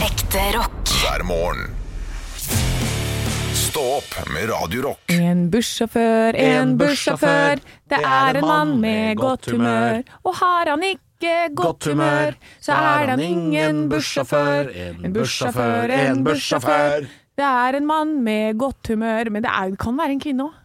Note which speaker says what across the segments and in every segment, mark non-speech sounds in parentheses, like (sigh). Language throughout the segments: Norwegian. Speaker 1: Ekte rock.
Speaker 2: hver morgen. Stå opp med Radio Rock.
Speaker 3: En bussjåfør, en bussjåfør. Det er en mann med godt humør. Og har han ikke godt humør, så er han ingen bussjåfør. En bussjåfør, en bussjåfør. Det er en mann med godt humør. Men det er, kan være en kvinne òg.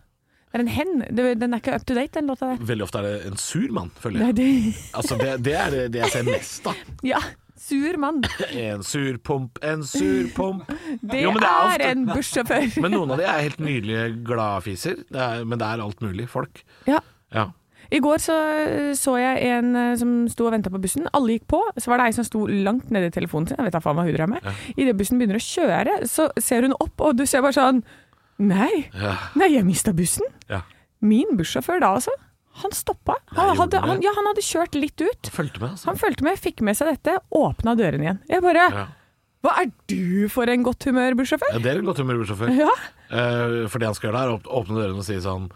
Speaker 3: Det er en hen. Det- Den er ikke up to date, den låta der.
Speaker 4: Veldig ofte er det en sur mann,
Speaker 3: Det er
Speaker 4: føler jeg.
Speaker 3: det. (laughs)
Speaker 4: Altså, det, det er det jeg ser mest, da.
Speaker 3: Ja. Sur mann.
Speaker 4: En surpomp, en surpomp.
Speaker 3: Det
Speaker 4: Jo, men det er
Speaker 3: er,
Speaker 4: ofte-
Speaker 3: en bussjåfør.
Speaker 4: Men noen av de er helt nydelige gladfiser. Det er- Men det er alt mulig folk.
Speaker 3: Ja.
Speaker 4: Ja.
Speaker 3: I går så, så jeg en eh, som sto og venta på bussen. Alle gikk på. Så var det ei som sto langt nede i telefonen sin. Jeg vet da faen hva hun drev med. Idet bussen begynner å kjøre, så ser hun opp, og du ser bare sånn Nei,
Speaker 4: Ja.
Speaker 3: nei jeg mista bussen.
Speaker 4: ja.
Speaker 3: Min bussjåfør da, altså. Han stoppa. Han
Speaker 4: Nei, gjorde
Speaker 3: hadde,
Speaker 4: det?
Speaker 3: han, ja, han hadde kjørt litt ut.
Speaker 4: Fulgte med, altså.
Speaker 3: Han fulgte med, fikk med seg dette, åpna dørene igjen. Jeg bare
Speaker 4: Ja.
Speaker 3: Hva er du for en godt humør, bussjåfør? (laughs)
Speaker 4: Ja, det er en godt humørbussjåfør.
Speaker 3: Ja.
Speaker 4: Eh, for det han skal gjøre, er å åp- åpne dørene og si sånn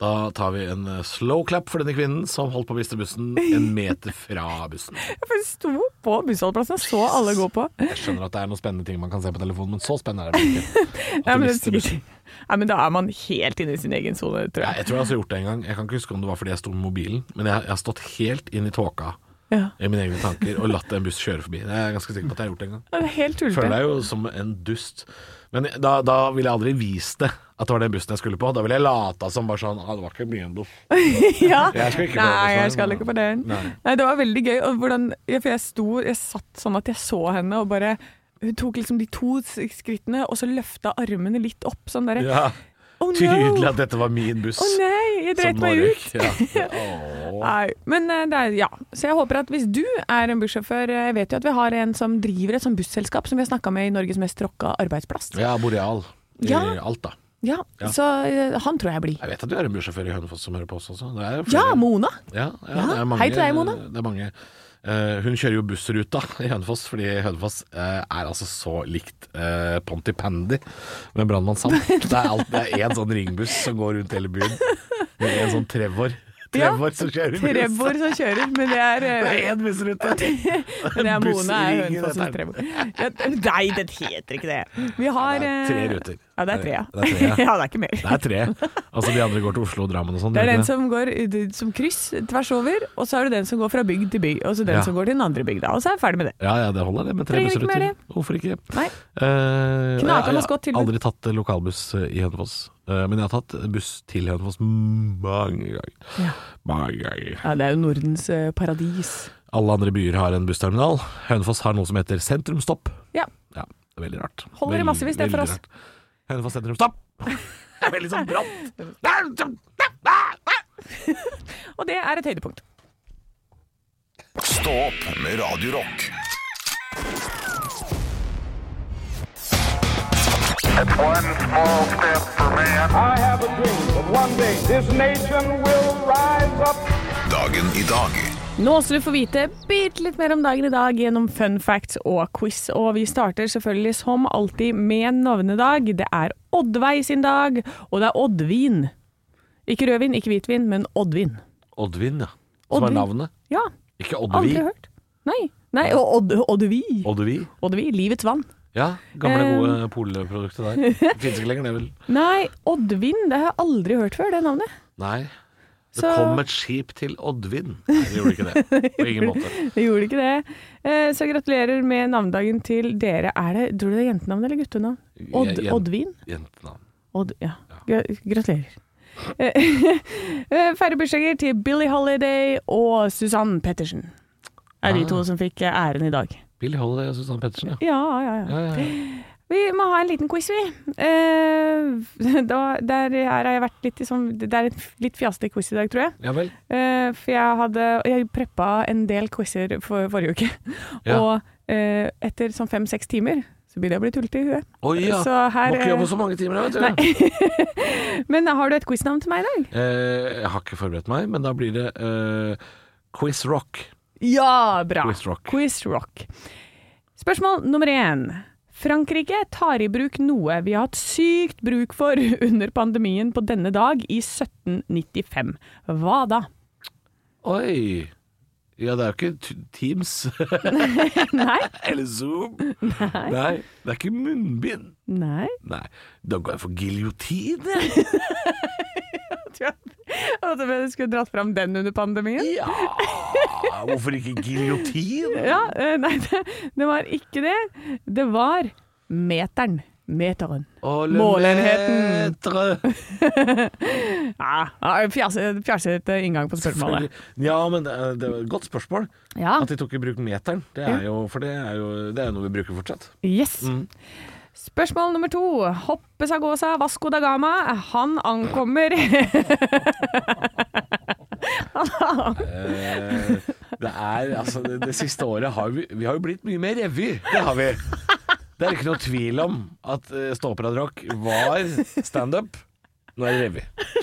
Speaker 4: Da tar vi en eh, slow clap for denne kvinnen som holdt på å miste bussen en meter fra bussen.
Speaker 3: Jeg sto på bussholdeplassen og så alle gå på.
Speaker 4: Jeg skjønner at det er noen spennende ting man kan se på telefonen, men så spennende er
Speaker 3: (laughs)
Speaker 4: det ikke.
Speaker 3: Ja,
Speaker 4: At du
Speaker 3: men, det er
Speaker 4: mister bussen.
Speaker 3: sikkert- Nei, men da er man helt inne i sin egen sone, tror
Speaker 4: Ja,
Speaker 3: jeg.
Speaker 4: jeg tror jeg har gjort det en gang. Jeg kan ikke huske om det var fordi jeg sto med mobilen, men jeg, jeg har stått helt inn i tåka
Speaker 3: Ja.
Speaker 4: i mine egne tanker og latt en buss kjøre forbi. Det er jeg ganske sikker på at jeg har gjort det en gang.
Speaker 3: Det er helt
Speaker 4: Føler
Speaker 3: (laughs) tullete.
Speaker 4: deg jo som en dust. Men da, da ville jeg aldri vist det, at det var den bussen jeg skulle på. Da ville jeg lata som bare sånn ah, Det var ikke min buss.
Speaker 3: ja.
Speaker 4: Jeg skal ikke på
Speaker 3: Nei,
Speaker 4: den,
Speaker 3: jeg
Speaker 4: så-
Speaker 3: skal ikke på den. Nei.
Speaker 4: Nei.
Speaker 3: det var veldig gøy. Og hvordan, ja, for jeg sto Jeg satt sånn at jeg så henne og bare hun tok liksom de to s- skrittene og så løfta armene litt opp. Sånn derre
Speaker 4: Ja,
Speaker 3: Oh
Speaker 4: tydelig
Speaker 3: no!
Speaker 4: at dette var min buss.
Speaker 3: Å nei, jeg dreit
Speaker 4: som
Speaker 3: meg
Speaker 4: nå
Speaker 3: ut!
Speaker 4: røyk. Ja. Åh.
Speaker 3: Nei, men eh, det er, ja. Så jeg håper at hvis du er en bussjåfør eh, Jeg vet jo at vi har en som driver et sånt busselskap som vi har snakka med i Norges mest rocka arbeidsplass.
Speaker 4: ja, Boreal. I
Speaker 3: Ja.
Speaker 4: Alta.
Speaker 3: Ja,
Speaker 4: Ja.
Speaker 3: Så eh, han tror jeg blir.
Speaker 4: Jeg vet at du er en bussjåfør i Hønefoss som hører på oss også. Det er
Speaker 3: Ja,
Speaker 4: flere-
Speaker 3: Mona!
Speaker 4: Ja, ja,
Speaker 3: Ja,
Speaker 4: det er mange,
Speaker 3: hei til deg, Mona.
Speaker 4: Det er mange. Eh, hun kjører jo bussruta (laughs) i Hønefoss, fordi Hønefoss eh, er altså så likt eh, Ponty Pandy med Brannmann
Speaker 3: (laughs)
Speaker 4: Sam. Det er alt- det er én sånn ringbuss som går rundt hele byen, med en sånn Trevor.
Speaker 3: Ja,
Speaker 4: Trevor som kjører buss.
Speaker 3: Trevor som kjører, men det er
Speaker 4: (laughs) Det
Speaker 3: eh,
Speaker 4: er én bussrute!
Speaker 3: Men det er Mone er
Speaker 4: Bussring i
Speaker 3: Hønefoss
Speaker 4: dette
Speaker 3: og
Speaker 4: her.
Speaker 3: Trevor. Ja, Nei, den heter ikke det. Vi har
Speaker 4: det er tre
Speaker 3: eh,
Speaker 4: ruter.
Speaker 3: Ja, det er tre, ja.
Speaker 4: Det er tre, ja.
Speaker 3: (laughs) ja, det er ikke mer.
Speaker 4: Det er tre. Altså De andre går til Oslo og Drammen og sånn.
Speaker 3: Det er
Speaker 4: gjør
Speaker 3: den
Speaker 4: ikke
Speaker 3: som går ut- som kryss tvers over, og så er det den som går fra bygd til by, og så den
Speaker 4: Ja.
Speaker 3: som går til den andre bygda, og så er jeg ferdig med det.
Speaker 4: Ja, ja, det holder det med tre
Speaker 3: Trenger ikke
Speaker 4: bussruter.
Speaker 3: mer det.
Speaker 4: Hvorfor ikke?
Speaker 3: Nei.
Speaker 4: Eh, jeg
Speaker 3: Knakende
Speaker 4: jeg
Speaker 3: godt
Speaker 4: har
Speaker 3: tilbud.
Speaker 4: aldri tatt eh, lokalbuss eh, i Hønefoss, Eh, men jeg har tatt buss til Hønefoss mange ganger.
Speaker 3: Ja.
Speaker 4: Mange ganger.
Speaker 3: Ja, det er jo Nordens eh, paradis.
Speaker 4: Alle andre byer har en bussterminal. Hønefoss har noe som heter sentrumstopp.
Speaker 3: Ja.
Speaker 4: Ja, det er veldig rart.
Speaker 3: Holder i
Speaker 4: Vel-
Speaker 3: massevis, det, for
Speaker 4: veldig
Speaker 3: oss.
Speaker 4: rart. Hønefoss sentrumstopp! (laughs) Det er veldig sånn bratt.
Speaker 3: Og det er et høydepunkt.
Speaker 2: Stå opp med Radio Rock.
Speaker 5: One small step for man.
Speaker 6: I have a dream that one day this nation will rise up.
Speaker 2: Dagen i dag.
Speaker 3: Nå skal du få vite bitte litt mer om dagen i dag gjennom fun facts og quiz. Og vi starter selvfølgelig som alltid med navnedag. Det er Oddveig sin dag, og det er Oddvin. Ikke rødvin, ikke hvitvin, men Oddvin.
Speaker 4: Oddvin, ja. Som er
Speaker 3: Oddvin.
Speaker 4: navnet.
Speaker 3: Ja,
Speaker 4: Ikke
Speaker 3: aldri
Speaker 4: Oddvi.
Speaker 3: hørt. Nei. Nei, og Odd, Oddvi.
Speaker 4: Oddvi.
Speaker 3: Oddvi, livets vann.
Speaker 4: Ja, gamle
Speaker 3: Eh.
Speaker 4: gode
Speaker 3: (laughs)
Speaker 4: polproduktet der. Fins ikke lenger, det vel.
Speaker 3: Nei, Oddvin, det har jeg aldri hørt før, det navnet.
Speaker 4: Nei. Det
Speaker 3: Så-
Speaker 4: kom et skip til Oddvin. Nei, det gjorde ikke det. På ingen
Speaker 3: (laughs)
Speaker 4: måte.
Speaker 3: Det gjorde ikke det. Eh, Så gratulerer med navnedagen til dere. Er det, tror du det er jentenavn eller guttenavn? Odd,
Speaker 4: Jen-
Speaker 3: Oddvin?
Speaker 4: Jentenavn.
Speaker 3: Odd, ja. Gra- Gratulerer. (laughs) Eh, Færre bursdager til Billie Holiday og Susann Pettersen. Er de
Speaker 4: Ah.
Speaker 3: to som fikk eh, æren i dag.
Speaker 4: Billy Holiday og Susanne Pettersen, ja.
Speaker 3: Ja, ja, ja.
Speaker 4: Ja, ja, ja.
Speaker 3: Vi må ha en liten quiz, vi. Eh, (laughs) da, der her har jeg vært litt i sånn Det er et litt fjasete quiz i dag, tror jeg.
Speaker 4: ja vel.
Speaker 3: Eh, for jeg hadde Jeg preppa en del quizer for forrige uke.
Speaker 4: Ja.
Speaker 3: Og eh, etter sånn fem-seks timer så begynner jeg å bli tullete i huet.
Speaker 4: Oi, ja.
Speaker 3: Så her
Speaker 4: Må ikke
Speaker 3: eh,
Speaker 4: jobbe så mange timer, da, vet du.
Speaker 3: Men har du et quiznavn til meg i dag?
Speaker 4: Eh, jeg har ikke forberedt meg, men da blir det eh, Quiz Rock.
Speaker 3: Ja, bra.
Speaker 4: Quiz Rock.
Speaker 3: Quiz rock. Spørsmål nummer én. Frankrike tar i bruk noe vi har hatt sykt bruk for (laughs) under pandemien på denne dag i 1795. Hva da?
Speaker 4: Oi. Ja, det er jo ikke t- Teams (laughs)
Speaker 3: Nei.
Speaker 4: eller Zoom. Nei. Det er ikke munnbind.
Speaker 3: Nei.
Speaker 4: Nei. Da går jeg for giljotin, jeg.
Speaker 3: Og (laughs) at vi skulle dratt fram den under pandemien. (laughs)
Speaker 4: Ja, hvorfor ikke giljotin?
Speaker 3: Ja, eh, nei, det, det var ikke det. Det var meteren. Meteren. Målenheten. Ja, ja, fjase- Fjasete inngang på spørsmålet.
Speaker 4: Ja, men det er, det er et godt spørsmål.
Speaker 3: Ja.
Speaker 4: At de tok i bruk meteren. Det er jo, for det er jo, det er jo noe vi bruker fortsatt.
Speaker 3: Yes.
Speaker 4: Mm.
Speaker 3: Spørsmål nummer to. Hoppe Sagosa Vasco da Gama, han ankommer (laughs)
Speaker 4: Eh, det er altså Det, det siste året har vi Vi har jo blitt mye mer revy. Det har vi. Det er ikke noe tvil om at eh, ståoperarock var standup. Nå er det revy.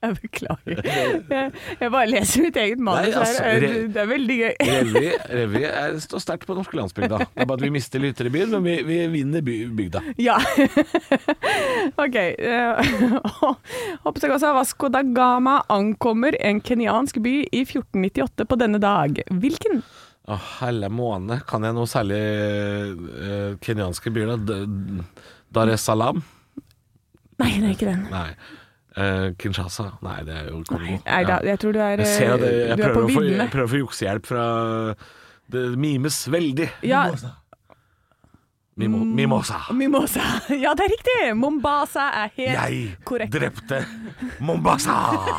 Speaker 3: Jeg beklager. Jeg, jeg bare leser mitt eget manus
Speaker 4: Nei, altså,
Speaker 3: her.
Speaker 4: re-
Speaker 3: Det er veldig gøy.
Speaker 4: Revy, revy er, står sterkt på norske landsbygda. Det er bare at vi mister lyttere i byen, men vi, vi vinner by, bygda.
Speaker 3: (laughs) Ja. (laughs) ok. (laughs) Uh, Hoppetagosa Vasco da Gama ankommer en kenyansk by i 1498 på denne dag. Hvilken?
Speaker 4: Å, helle måne. Kan jeg noe særlig eh, kenyanske byer, da? D- Dar es Salaam?
Speaker 3: Nei, det er ikke den.
Speaker 4: Nei. Eh, Kinshasa? Nei, det er jo Kongo.
Speaker 3: Nei, da,
Speaker 4: Ja.
Speaker 3: jeg tror du er,
Speaker 4: Jeg ser at jeg,
Speaker 3: eh,
Speaker 4: jeg
Speaker 3: du er
Speaker 4: prøver,
Speaker 3: på
Speaker 4: å få, jeg
Speaker 3: viddene.
Speaker 4: prøver å få juksehjelp fra Det mimes veldig.
Speaker 3: Ja.
Speaker 4: Mimo,
Speaker 3: Mm.
Speaker 4: mimosa.
Speaker 3: Mimosa. (laughs) Ja, det er riktig! Mombasa er helt
Speaker 4: Jeg
Speaker 3: korrekt.
Speaker 4: drepte Mombasa!
Speaker 3: (laughs)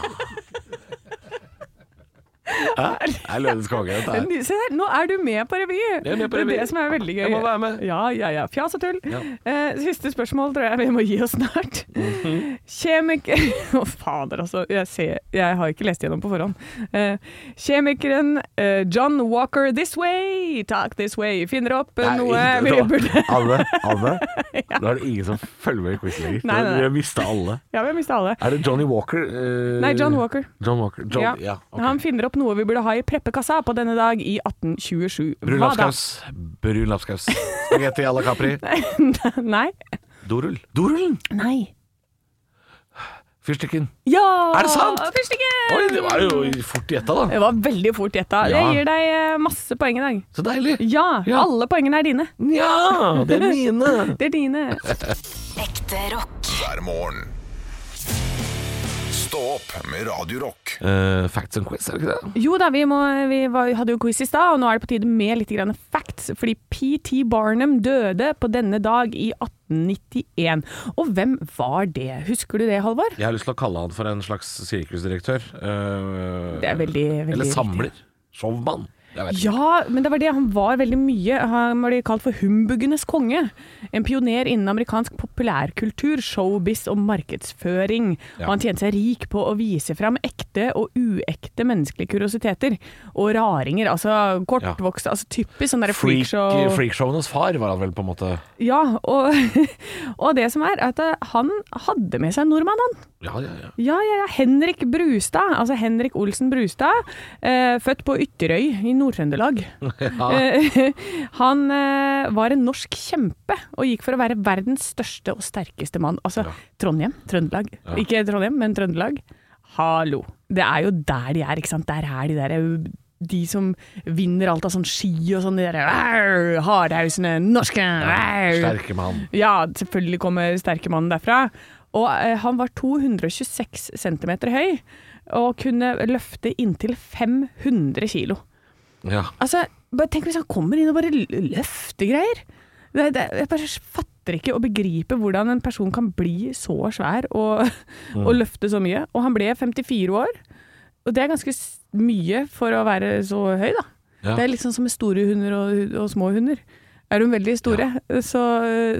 Speaker 4: Hæ? Det er løvens konge, dette her.
Speaker 3: Men Se her, nå er du med på revy!
Speaker 4: Jeg er med på
Speaker 3: det
Speaker 4: revy.
Speaker 3: er det som er veldig gøy.
Speaker 4: Jeg må være med.
Speaker 3: Ja, ja, ja. Fjas og tull.
Speaker 4: Ja.
Speaker 3: Eh, siste spørsmål tror jeg vi må gi oss snart.
Speaker 4: Mhm.
Speaker 3: Kjemiker... (laughs) Å, fader, altså. Jeg, ser, jeg har ikke lest gjennom på forhånd. Eh, kjemikeren eh, John Walker This Way, Talk This Way, finner opp eh,
Speaker 4: Nei,
Speaker 3: noe
Speaker 4: ikke-
Speaker 3: vi
Speaker 4: nå-
Speaker 3: burde
Speaker 4: (laughs) Alle,
Speaker 3: (laughs)
Speaker 4: alle. Nå er det ingen som følger med i quizen lenger.
Speaker 3: Nei, nei, nei.
Speaker 4: Vi har mista alle.
Speaker 3: Ja, vi har mista alle.
Speaker 4: Er det Johnny Walker? eh,
Speaker 3: Nei, John Walker.
Speaker 4: John Walker. John, ja. ok.
Speaker 3: Han finner opp noe vi burde ha i preppekassa på denne dag i 1827.
Speaker 4: Brun
Speaker 3: Hva da?
Speaker 4: lapskaus. Brun lapskaus. Spagetti à la Capri.
Speaker 3: (laughs) Nei.
Speaker 4: Dorull. Dorullen!
Speaker 3: Nei.
Speaker 4: Fyrstikken.
Speaker 3: Ja!
Speaker 4: Er det sant?
Speaker 3: Fyrstikken!
Speaker 4: Oi, det var jo fort gjetta, da.
Speaker 3: Det var veldig fort gjetta.
Speaker 4: Ja.
Speaker 3: Jeg gir deg eh, masse poeng i dag.
Speaker 4: Så deilig.
Speaker 3: Ja,
Speaker 4: Ja.
Speaker 3: alle poengene er dine.
Speaker 4: Nja, det er
Speaker 3: (laughs)
Speaker 4: mine.
Speaker 3: Det er dine.
Speaker 1: Ekte rock.
Speaker 2: hver morgen. Stå opp med Radio Rock.
Speaker 4: Eh, facts and quiz, er det ikke det?
Speaker 3: Jo da, vi, må, vi var, hadde jo quiz i stad, og nå er det på tide med litt grann facts. Fordi PT Barnum døde på denne dag i 1891. Og hvem var det? Husker du det, Halvor?
Speaker 4: Jeg har lyst til å kalle han for en slags sirkusdirektør. eh,
Speaker 3: Det er veldig, veldig
Speaker 4: Eller
Speaker 3: riktig.
Speaker 4: samler. Showmann. Jeg vet ikke.
Speaker 3: Ja, men det var det. Han var veldig mye. Han ble kalt for humbugenes konge. En pioner innen amerikansk populærkultur, showbiz og markedsføring.
Speaker 4: Ja.
Speaker 3: Og han tjente seg rik på å vise fram ekte og uekte menneskelige kuriositeter. Og raringer. Altså kortvokste altså Typisk sånn derre
Speaker 4: Freak,
Speaker 3: freakshow.
Speaker 4: freakshowenes far var han vel, på en måte.
Speaker 3: Ja, og, (laughs) og det som er, er at eh, han hadde med seg en nordmann, han.
Speaker 4: Ja, ja,
Speaker 3: (laughs)
Speaker 4: ja.
Speaker 3: Ja, ja, ja. Henrik Brustad, altså Henrik Olsen Brustad, eh, født på Ytterøy i Nord-Trøndelag. Eh, (laughs) han eh, var en norsk kjempe og gikk for å være verdens største og sterkeste mann. Altså Trondheim, Trøndelag. Ikke Trondheim, men Trøndelag. Hallo. Det er jo der de er, ikke sant. Der er de der eh, de som vinner alt av sånn ski og sånn, de der "Arr, hardhausene, norske arr."
Speaker 4: Sterke mann.
Speaker 3: Ja, selvfølgelig kommer sterke mannen derfra. Og eh, han var 226 cm høy og kunne løfte inntil 500 kilo.
Speaker 4: Ja.
Speaker 3: Altså, bare tenk hvis han kommer inn og bare l- løfter greier. Det, det, jeg bare fatter ikke og begriper hvordan en person kan bli så svær og, (laughs) og løfte så mye. Og han ble 54 år, og det er ganske s- mye for å være så høy, da.
Speaker 4: Ja.
Speaker 3: Det er litt sånn som med store hunder og, og små hunder. Er de veldig store, så,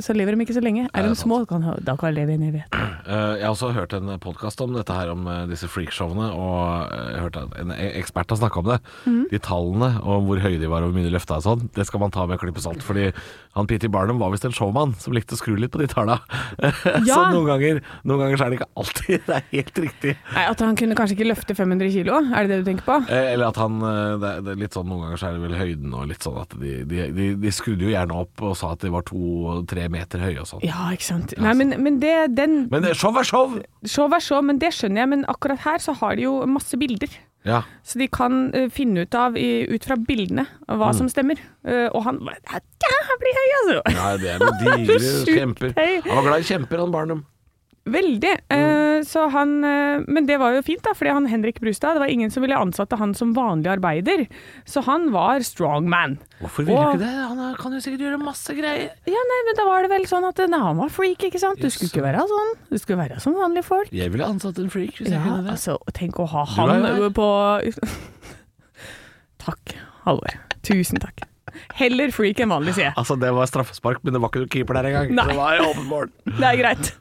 Speaker 3: så lever de ikke så lenge. Er
Speaker 4: det er
Speaker 3: de små, kan, da kan de leve en evighet.
Speaker 4: Eh, jeg har også hørt en podkast om dette her, om eh, disse freakshowene. Og eh, jeg har hørt at en e- ekspert har snakka om det.
Speaker 3: Mm.
Speaker 4: De tallene og hvor høye de var og hvor mye de løfta og sånn, det skal man ta med en klype salt. Fordi han P.T. Barnum var visst en showmann som likte å skru litt på de talla. (laughs) så
Speaker 3: Ja.
Speaker 4: noen ganger, noen ganger så er det ikke alltid (laughs) det er helt riktig.
Speaker 3: Nei, At han kunne kanskje ikke løfte 500 kilo, er det det du tenker på?
Speaker 4: Eh, Eller at han eh, det er, det er litt sånn, Noen ganger så er det vel høyden og litt sånn at de, de, de, de skrudde jo gjerne opp og sa at de var to-tre meter høye og sånn.
Speaker 3: Ja, ikke sant. Nei, men, men det, den
Speaker 4: Men eh, show er show!
Speaker 3: Show er show, men det skjønner jeg. Men akkurat her så har de jo masse bilder.
Speaker 4: Ja.
Speaker 3: Så de kan eh, finne ut av, i, ut fra bildene, hva som stemmer. Eh, og han var jævlig høy, altså!
Speaker 4: Nei, det er noen
Speaker 3: Du er
Speaker 4: digre
Speaker 3: sjukt
Speaker 4: kjemper.
Speaker 3: høy.
Speaker 4: Han var glad i kjemper, han Barnum.
Speaker 3: (laughs) Veldig. Eh, så han, eh, men det var jo fint, da, fordi han Henrik Brustad, det var ingen som ville ansette han som vanlig arbeider. Så han var strongman.
Speaker 4: Hvorfor
Speaker 3: ville du ikke
Speaker 4: det? Han kan jo sikkert gjøre masse greier.
Speaker 3: Ja, nei, men da var det vel sånn at nei, han var freak, ikke sant? Du skulle ikke være sånn. Du skulle være som vanlige folk.
Speaker 4: Jeg ville ansatt en freak hvis jeg
Speaker 3: Ja,
Speaker 4: kunne det.
Speaker 3: altså, tenk å ha
Speaker 4: er
Speaker 3: han
Speaker 4: jo her.
Speaker 3: på (laughs) Takk, Halvor. Tusen takk. Heller freak enn vanlig, sier jeg.
Speaker 4: Altså, det var straffespark, men det var ikke noen keeper der engang.
Speaker 3: Nei.
Speaker 4: Det var åpen mål.
Speaker 3: Det er greit.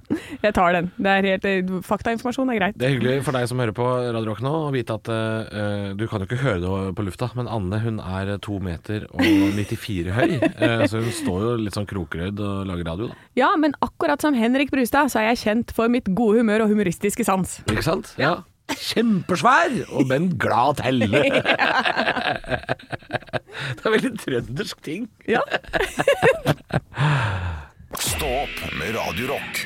Speaker 3: Jeg tar den. Det er helt, eh, faktainformasjon er greit.
Speaker 4: Det er hyggelig for deg som hører på Radio Rock nå, å vite at eh, du kan jo ikke høre det på lufta, men Anne hun er to meter og 94 høy, eh, så hun står jo litt sånn krokrøyd og lager radio, da.
Speaker 3: Ja, men akkurat som Henrik Brustad, så er jeg kjent for mitt gode humør og humoristiske sans.
Speaker 4: Ikke sant? Ja. Kjempesvær, og men glad telle. (laughs) det er veldig trøndersk ting.
Speaker 3: Ja.
Speaker 2: Stå opp med Radio Rock.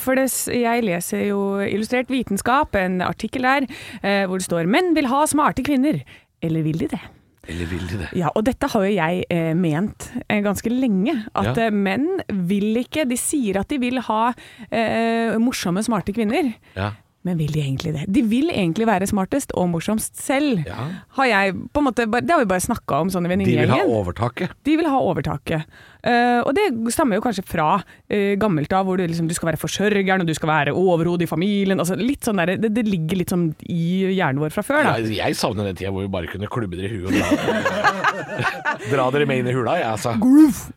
Speaker 3: For det, s- jeg leser jo Illustrert vitenskap, en artikkel der, eh, hvor det står 'Menn vil ha smarte kvinner'. Eller vil de det?
Speaker 4: Eller vil de det?
Speaker 3: Ja, og dette har jo jeg eh, ment eh, ganske lenge. At
Speaker 4: Ja.
Speaker 3: eh, menn vil ikke De sier at de vil ha eh, morsomme, smarte kvinner.
Speaker 4: Ja.
Speaker 3: Men vil de egentlig det? De vil egentlig være smartest og morsomst selv.
Speaker 4: Ja.
Speaker 3: Har jeg på en måte, bare- det har vi bare snakka om sånn i
Speaker 4: De vil ha
Speaker 3: vennegjengen.
Speaker 4: overtaket.
Speaker 3: De vil ha overtaket. Eh, og det stammer jo kanskje fra eh, gammelt av, hvor du, liksom, du skal være forsørgeren og du skal være overhodet i familien. Altså, litt sånn der, det, det ligger litt sånn i hjernen vår fra før. Da.
Speaker 4: Jeg, jeg savner den tida hvor vi bare kunne klubbe dere i huet og dra, (laughs) dra dere med inn i hula. Jeg, altså.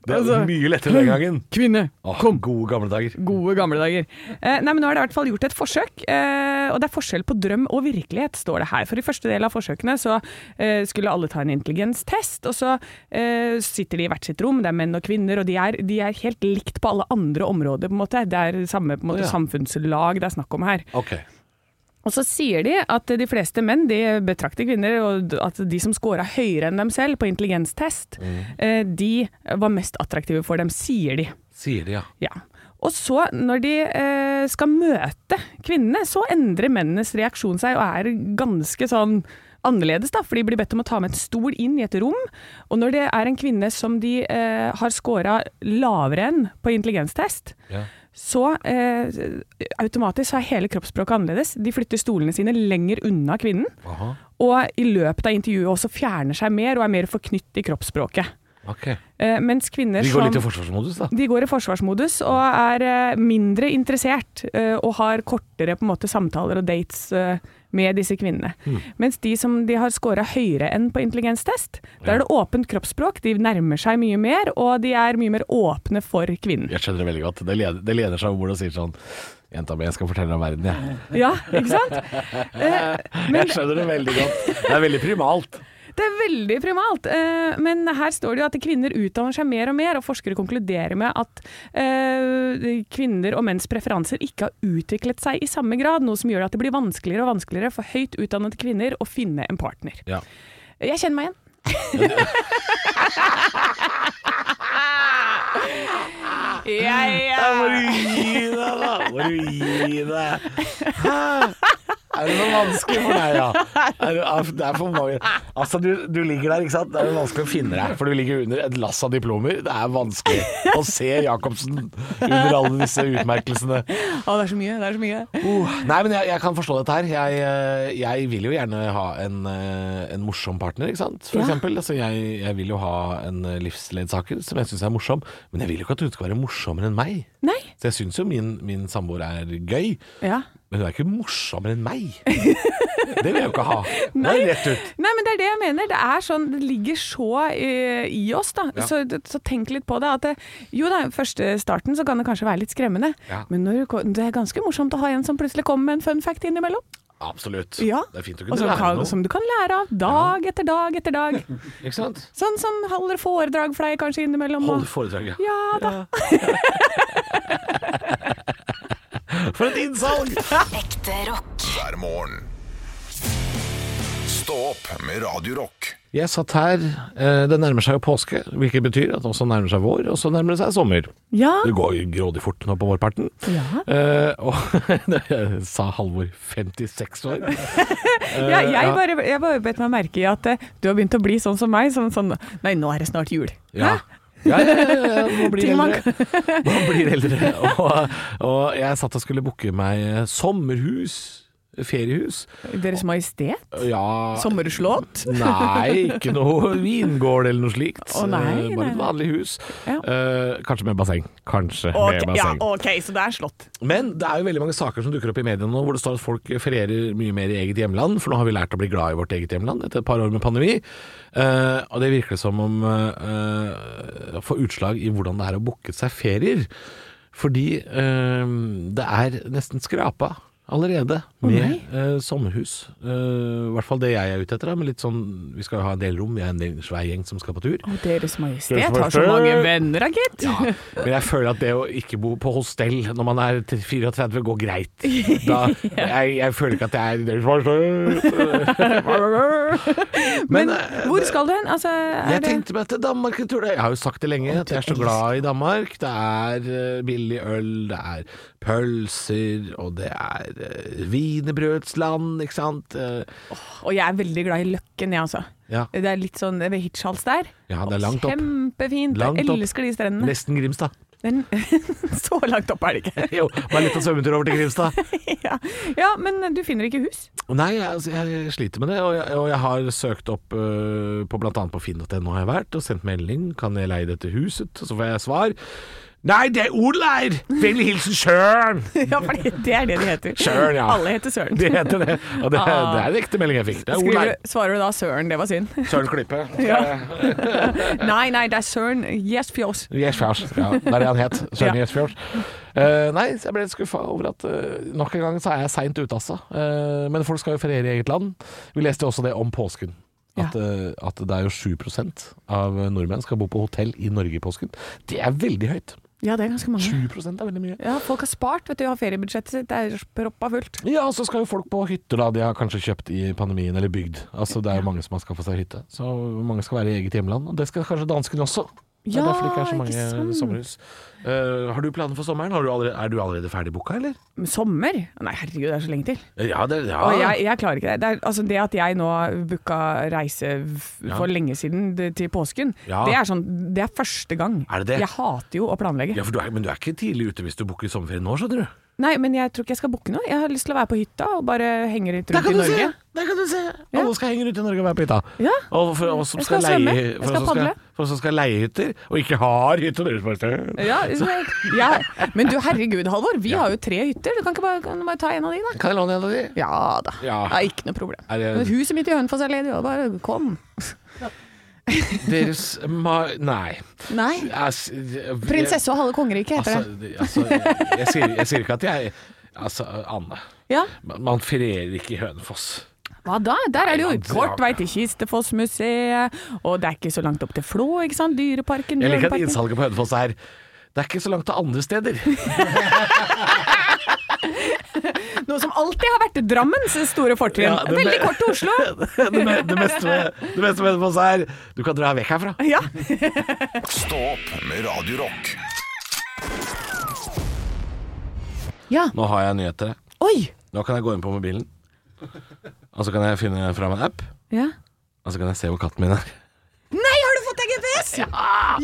Speaker 4: Det er
Speaker 3: Altså,
Speaker 4: mye lettere den gangen.
Speaker 3: Kvinne,
Speaker 4: Åh, Gode gamle dager.
Speaker 3: Gode gamle dager. Eh, nei, men Nå er det i hvert fall gjort et forsøk, eh, og det er forskjell på drøm og virkelighet, står det her. For I første del av forsøkene så eh, skulle alle ta en intelligenstest, og så eh, sitter de i hvert sitt rom, det er menn og kvinner, og de er, de er helt likt på alle andre områder, på en måte. Det er samme på en måte,
Speaker 4: Å, ja.
Speaker 3: samfunnslag det er snakk om her.
Speaker 4: Ok.
Speaker 3: Og så sier de at de fleste menn de betrakter kvinner, og at de som scora høyere enn dem selv på intelligenstest, eh, de var mest attraktive for dem, sier de.
Speaker 4: Sier de, ja.
Speaker 3: Ja. Og så, når de eh, skal møte kvinnene, så endrer mennenes reaksjon seg og er ganske sånn annerledes, da, for de blir bedt om å ta med en stol inn i et rom. Og når det er en kvinne som de eh, har scora lavere enn på intelligenstest,
Speaker 4: Ja.
Speaker 3: så eh, automatisk så er hele kroppsspråket annerledes. De flytter stolene sine lenger unna kvinnen,
Speaker 4: Aha.
Speaker 3: og i løpet av intervjuet også fjerner seg mer og er mer forknytt i kroppsspråket.
Speaker 4: Ok.
Speaker 3: Eh, mens kvinner
Speaker 4: De går
Speaker 3: som
Speaker 4: litt i forsvarsmodus, da.
Speaker 3: de går i forsvarsmodus og er eh, mindre interessert eh, og har kortere på en måte, samtaler og dates eh, med disse kvinnene. Mens de som de har scora høyere enn på intelligenstest, da er det åpent kroppsspråk, de nærmer seg mye mer, og de er mye mer åpne for kvinnen.
Speaker 4: Jeg skjønner det veldig godt. Det leder, det leder seg over og sier sånn Jenta mi, jeg skal fortelle deg om verden, jeg.
Speaker 3: Ja, ikke sant?
Speaker 4: Jeg skjønner det veldig godt. Det er veldig primalt.
Speaker 3: Det er veldig primalt. eh, Men her står det jo at kvinner utdanner seg mer og mer, og forskere konkluderer med at eh, kvinner og menns preferanser ikke har utviklet seg i samme grad, noe som gjør at det blir vanskeligere og vanskeligere for høyt utdannede kvinner å finne en partner.
Speaker 4: Ja.
Speaker 3: Jeg kjenner meg igjen. (laughs) ja, ja.
Speaker 4: Må du gi deg, da! Må du gi deg! Hæ? Er det noe vanskelig for deg, ja? Er det, er- det er for mange Altså, du, du ligger der, ikke sant? Det er jo vanskelig å finne deg, for du ligger under et lass av diplomer. Det er vanskelig å se Jacobsen under alle disse utmerkelsene.
Speaker 3: Å, det er så mye, det er så mye.
Speaker 4: Oh, nei, men jeg, jeg kan forstå dette her. Jeg, eh, jeg vil jo gjerne ha en, eh, en morsom partner, ikke sant? For
Speaker 3: Ja.
Speaker 4: eksempel. Altså, jeg, jeg vil jo ha en eh, livsledsaker som jeg syns er morsom, men jeg vil jo ikke at hun skal være morsommere enn meg.
Speaker 3: Nei.
Speaker 4: Så jeg syns jo min, min samboer er gøy,
Speaker 3: Ja.
Speaker 4: men hun er ikke morsommere enn meg. Det vil jeg jo ikke
Speaker 3: (laughs)
Speaker 4: ha. Nei. Det er rett ut.
Speaker 3: Nei, men det er det jeg mener. Det er sånn, det ligger så eh, i oss, da.
Speaker 4: Ja.
Speaker 3: Så, så tenk litt på det. At det jo da, første starten så kan det kanskje være litt skremmende.
Speaker 4: Ja.
Speaker 3: Men når, du ko- det er ganske morsomt å ha en som plutselig kommer med en fun fact innimellom.
Speaker 4: Absolutt.
Speaker 3: Ja.
Speaker 4: Det er fint å
Speaker 3: Og
Speaker 4: kunne
Speaker 3: som,
Speaker 4: lære
Speaker 3: kan,
Speaker 4: noe.
Speaker 3: som du kan lære av dag etter dag etter dag. (laughs)
Speaker 4: Ikke sant?
Speaker 3: Sånn som holder foredrag for deg kanskje innimellom. og-
Speaker 4: Holde foredrag, ja.
Speaker 3: Ja da.
Speaker 4: For et innsalg!
Speaker 1: Ekte rock.
Speaker 2: hver morgen. Stå opp med Radio Rock.
Speaker 4: Jeg satt her, eh, det nærmer seg jo påske, hvilket betyr at det også nærmer seg vår, og så nærmer det seg sommer.
Speaker 3: Ja.
Speaker 4: Det går jo grådig fort nå på vårparten.
Speaker 3: Ja.
Speaker 4: Eh, og (laughs) jeg sa Halvor 56 år.
Speaker 3: ja jeg,
Speaker 4: ja.
Speaker 3: bare, jeg bare bet meg merke i at eh, du har begynt å bli sånn som meg. Sånn, sånn Nei, nå er det snart jul.
Speaker 4: Ja. Ja, ja, ja, ja, man blir
Speaker 3: Ting man-
Speaker 4: eldre. (laughs) Man blir eldre. Og, og jeg satt og skulle booke meg eh, sommerhus, feriehus.
Speaker 3: Deres Majestet?
Speaker 4: Ja,
Speaker 3: Sommerslott?
Speaker 4: Nei, ikke noe vingård eller noe slikt.
Speaker 3: Å, nei,
Speaker 4: Eh, Bare
Speaker 3: nei, nei.
Speaker 4: et vanlig hus.
Speaker 3: Ja.
Speaker 4: Eh, kanskje med basseng. Kanskje
Speaker 3: Ok,
Speaker 4: med
Speaker 3: ja,
Speaker 4: basseng.
Speaker 3: ok, så det er slott.
Speaker 4: Men det er jo veldig mange saker som dukker opp i mediene nå hvor det står at folk ferierer mye mer i eget hjemland, for nå har vi lært å bli glad i vårt eget hjemland etter et par år med pandemi. Eh, og det virker som om eh, eh, får utslag i hvordan det er å booke seg ferier. Fordi eh, det er nesten skrapa allerede med eh, sommerhus. Eh, I hvert fall det jeg er ute etter. Da, med litt sånn, vi skal jo ha en del rom, vi er en del svær gjeng som skal på tur.
Speaker 3: Og Deres Majestet
Speaker 4: Deres
Speaker 3: har så
Speaker 4: Majestet.
Speaker 3: mange venner, da, gitt.
Speaker 4: Ja, men jeg føler at det å ikke bo på hostell når man er 34 går greit. Da, jeg, jeg føler ikke at det er Men eh,
Speaker 3: (laughs) Hvor skal du hen? Altså, er
Speaker 4: jeg
Speaker 3: det-
Speaker 4: tenkte meg til Danmark en tur. da. Jeg har jo sagt det lenge, at jeg er så glad i Danmark. Det er eh, billig øl, det er pølser, og det er eh, wienerbrødsland, ikke sant. Eh,
Speaker 3: Og jeg er veldig glad i Løkken, jeg, altså.
Speaker 4: Ja,
Speaker 3: Det er litt sånn ved Hirtshals der.
Speaker 4: ja det er langt opp.
Speaker 3: Kjempefint.
Speaker 4: Langt
Speaker 3: Jeg
Speaker 4: opp.
Speaker 3: elsker de strendene.
Speaker 4: Nesten Grimstad. (laughs)
Speaker 3: Men (laughs) så langt opp er det ikke. (laughs)
Speaker 4: Jo, bare litt av svømmetur over til Grimstad.
Speaker 3: ja. ja, men du finner ikke hus.
Speaker 4: Nei, jeg, altså, jeg sliter med det, og jeg, og jeg har søkt opp øh, på bl.a. på finn.no har jeg vært, og sendt melding. Kan jeg leie dette huset? Og så får jeg svar. Nei, det er Odleir! Vennlig hilsen Sjørn!
Speaker 3: Ja, for det, det er det de heter.
Speaker 4: Søren, ja.
Speaker 3: Alle heter Søren.
Speaker 4: Det heter det. Og det,
Speaker 3: Ah.
Speaker 4: det er en ekte melding jeg fikk. Det er
Speaker 3: Skriver,
Speaker 4: Odleir.
Speaker 3: du- svarer du da Søren, det var synd?
Speaker 4: Søren Klippe.
Speaker 3: (laughs) nei, nei, det er Søren. Yes, fjos.
Speaker 4: Gjesfjords. Ja, det er det han het. Søren
Speaker 3: Ja.
Speaker 4: Gjesfjords. Eh, nei, så jeg ble litt skuffa over at eh, nok en gang så er jeg seint ute, altså. Eh, men folk skal jo feriere i eget land. Vi leste jo også det om påsken. At, eh, at det er jo 7 av nordmenn skal bo på hotell i Norge i påsken. Det er veldig høyt.
Speaker 3: Ja, det er ganske
Speaker 4: 7
Speaker 3: mange.
Speaker 4: er veldig mye.
Speaker 3: Ja, folk har spart, vet du, har feriebudsjettet sitt. Det er proppa fullt.
Speaker 4: Ja, og så skal jo folk på hytter, da. De har kanskje kjøpt i pandemien, eller bygd. Altså, det er jo mange som har skaffa seg hytte. Så mange skal være i eget hjemland. Og det skal kanskje danskene også. Det er
Speaker 3: Ja,
Speaker 4: derfor det ikke er så
Speaker 3: ikke
Speaker 4: mange
Speaker 3: sant.
Speaker 4: sommerhus. Eh, har du planer for sommeren? Har du allerede, er du allerede ferdig booka, eller?
Speaker 3: Men Sommer? Nei, herregud, det er så lenge til.
Speaker 4: Eh, Ja, det, ja.
Speaker 3: Og jeg, jeg klarer ikke det. Det, er, altså det at jeg nå booka reise f- for lenge siden det- til påsken,
Speaker 4: Ja.
Speaker 3: det, er sånn, det er første gang.
Speaker 4: Er det det?
Speaker 3: Jeg hater jo å planlegge.
Speaker 4: Ja, for du er, men du er ikke tidlig ute hvis du booker sommerferie nå, skjønner du.
Speaker 3: Nei, men jeg tror ikke jeg skal booke noe. Jeg har lyst til å være på hytta og bare henge litt rundt i Norge.
Speaker 4: Der kan du se!
Speaker 3: Ja.
Speaker 4: Alle skal henge rundt i Norge og være på hytta.
Speaker 3: Ja.
Speaker 4: Og for oss som
Speaker 3: Jeg
Speaker 4: skal,
Speaker 3: skal svømme.
Speaker 4: leie,
Speaker 3: Jeg
Speaker 4: for oss
Speaker 3: skal
Speaker 4: som skal,
Speaker 3: padle.
Speaker 4: for oss som skal leie hytter, og ikke har hytte og dødsparter.
Speaker 3: Ja, (laughs) så jeg- ja. Men du herregud, Halvor. Vi har jo tre hytter. Du kan ikke bare, kan du bare ta en av de, da.
Speaker 4: Kan jeg låne en av de?
Speaker 3: Ja da.
Speaker 4: Ja.
Speaker 3: Det er ikke noe problem.
Speaker 4: Er det-
Speaker 3: Men Huset mitt i Hønefoss er ledig, og bare kom.
Speaker 4: Deres ma... Nei.
Speaker 3: Nei.
Speaker 4: Altså,
Speaker 3: Prinsesse og halve kongeriket heter
Speaker 4: Altså,
Speaker 3: det.
Speaker 4: altså jeg, sier, jeg sier ikke at jeg Altså, Anne.
Speaker 3: Ja.
Speaker 4: Man man ferierer ikke i Hønefoss.
Speaker 3: Hva da? Der er det jo
Speaker 4: Nei, man drar-
Speaker 3: kort vei til Kistefossmuseet, og det er ikke så langt opp til Flå, ikke sant? Dyreparken.
Speaker 4: Jeg liker at
Speaker 3: Bjørneparken.
Speaker 4: innsalget på Hønefoss er Det er ikke så langt til andre
Speaker 3: (laughs)
Speaker 4: steder. (laughs)
Speaker 3: Noe som alltid har vært Drammens store fortrinn.
Speaker 4: Ja, det-
Speaker 3: Veldig kort til Oslo.
Speaker 4: det, me- det meste med det meste med Hønefoss er Du kan dra vekk herfra.
Speaker 3: Ja.
Speaker 2: Stå opp med Radio Rock.
Speaker 3: ja.
Speaker 4: Nå har jeg nyheter. jeg.
Speaker 3: Oi!
Speaker 4: Nå kan jeg gå inn på mobilen. Og så kan jeg finne fram en app,
Speaker 3: Ja.
Speaker 4: og så kan jeg se hvor katten min er.
Speaker 3: Nei, har du fått deg GPS? Ja!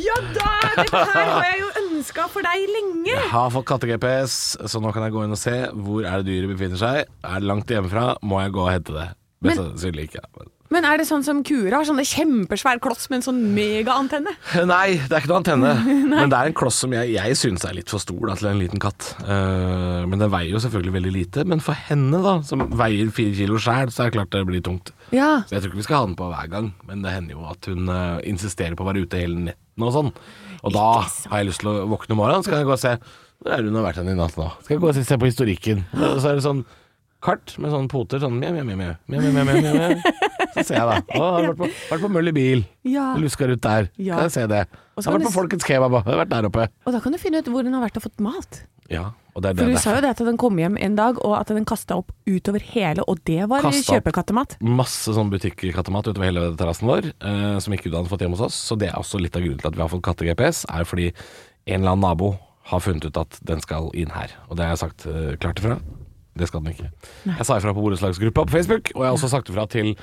Speaker 3: ja da! Dette her har jeg jo ønska for deg lenge.
Speaker 4: Jeg har fått katte-GPS, så nå kan jeg gå inn og se hvor er det dyret befinner seg. Er det langt hjemmefra, må jeg gå og hente det. Men,
Speaker 3: Men-
Speaker 4: sannsynlig ikke. da.
Speaker 3: Men er det sånn som kuer har? Sånne kjempesvær kloss med en sånn megaantenne?
Speaker 4: Nei, det er ikke noe antenne. men det er en kloss som jeg, jeg syns er litt for stor da, til en liten katt. Eh, men den veier jo selvfølgelig veldig lite. Men for henne, da, som veier fire kilo sjæl, så er det klart det blir tungt.
Speaker 3: Ja.
Speaker 4: Så jeg tror ikke vi skal ha den på hver gang, men det hender jo at hun eh, insisterer på å være ute hele netten og sånn. Og da har jeg lyst til å våkne om morgenen, så kan jeg gå og se hvor er det hun har vært hen i natt nå. Skal jeg gå og se på historikken. Og så er det sånn kart med sånne poter, sånn mjau, mjau, mjau, mjau, mjau, mjau, mjau, mjau. Så ser jeg da. Å, har vært på, vært på Møll i bil.
Speaker 3: Ja.
Speaker 4: Luska rundt der.
Speaker 3: Ja.
Speaker 4: Kan jeg se det.
Speaker 3: Og så
Speaker 4: Jeg
Speaker 3: kan
Speaker 4: har vært
Speaker 3: du
Speaker 4: på Folkets kebab òg. Vært der oppe.
Speaker 3: Og da kan du finne ut hvor den har vært og fått mat.
Speaker 4: Ja. Og det er det
Speaker 3: For hun
Speaker 4: det
Speaker 3: sa jo det at den kom hjem en dag, og at den kasta opp utover hele, og det var
Speaker 4: Kastet opp.
Speaker 3: kjøpekattemat.
Speaker 4: Masse sånn butikkattemat utover hele terrassen vår, eh, som ikke du hadde fått hjemme hos oss. Så det er også litt av grunnen til at vi har fått katte-GPS, er fordi en eller annen nabo har funnet ut at den skal inn her. Og det har jeg sagt eh, klart ifra. Det skal den ikke. Jeg sa ifra på borettslagsgruppa på Facebook, og jeg har også sagt ifra til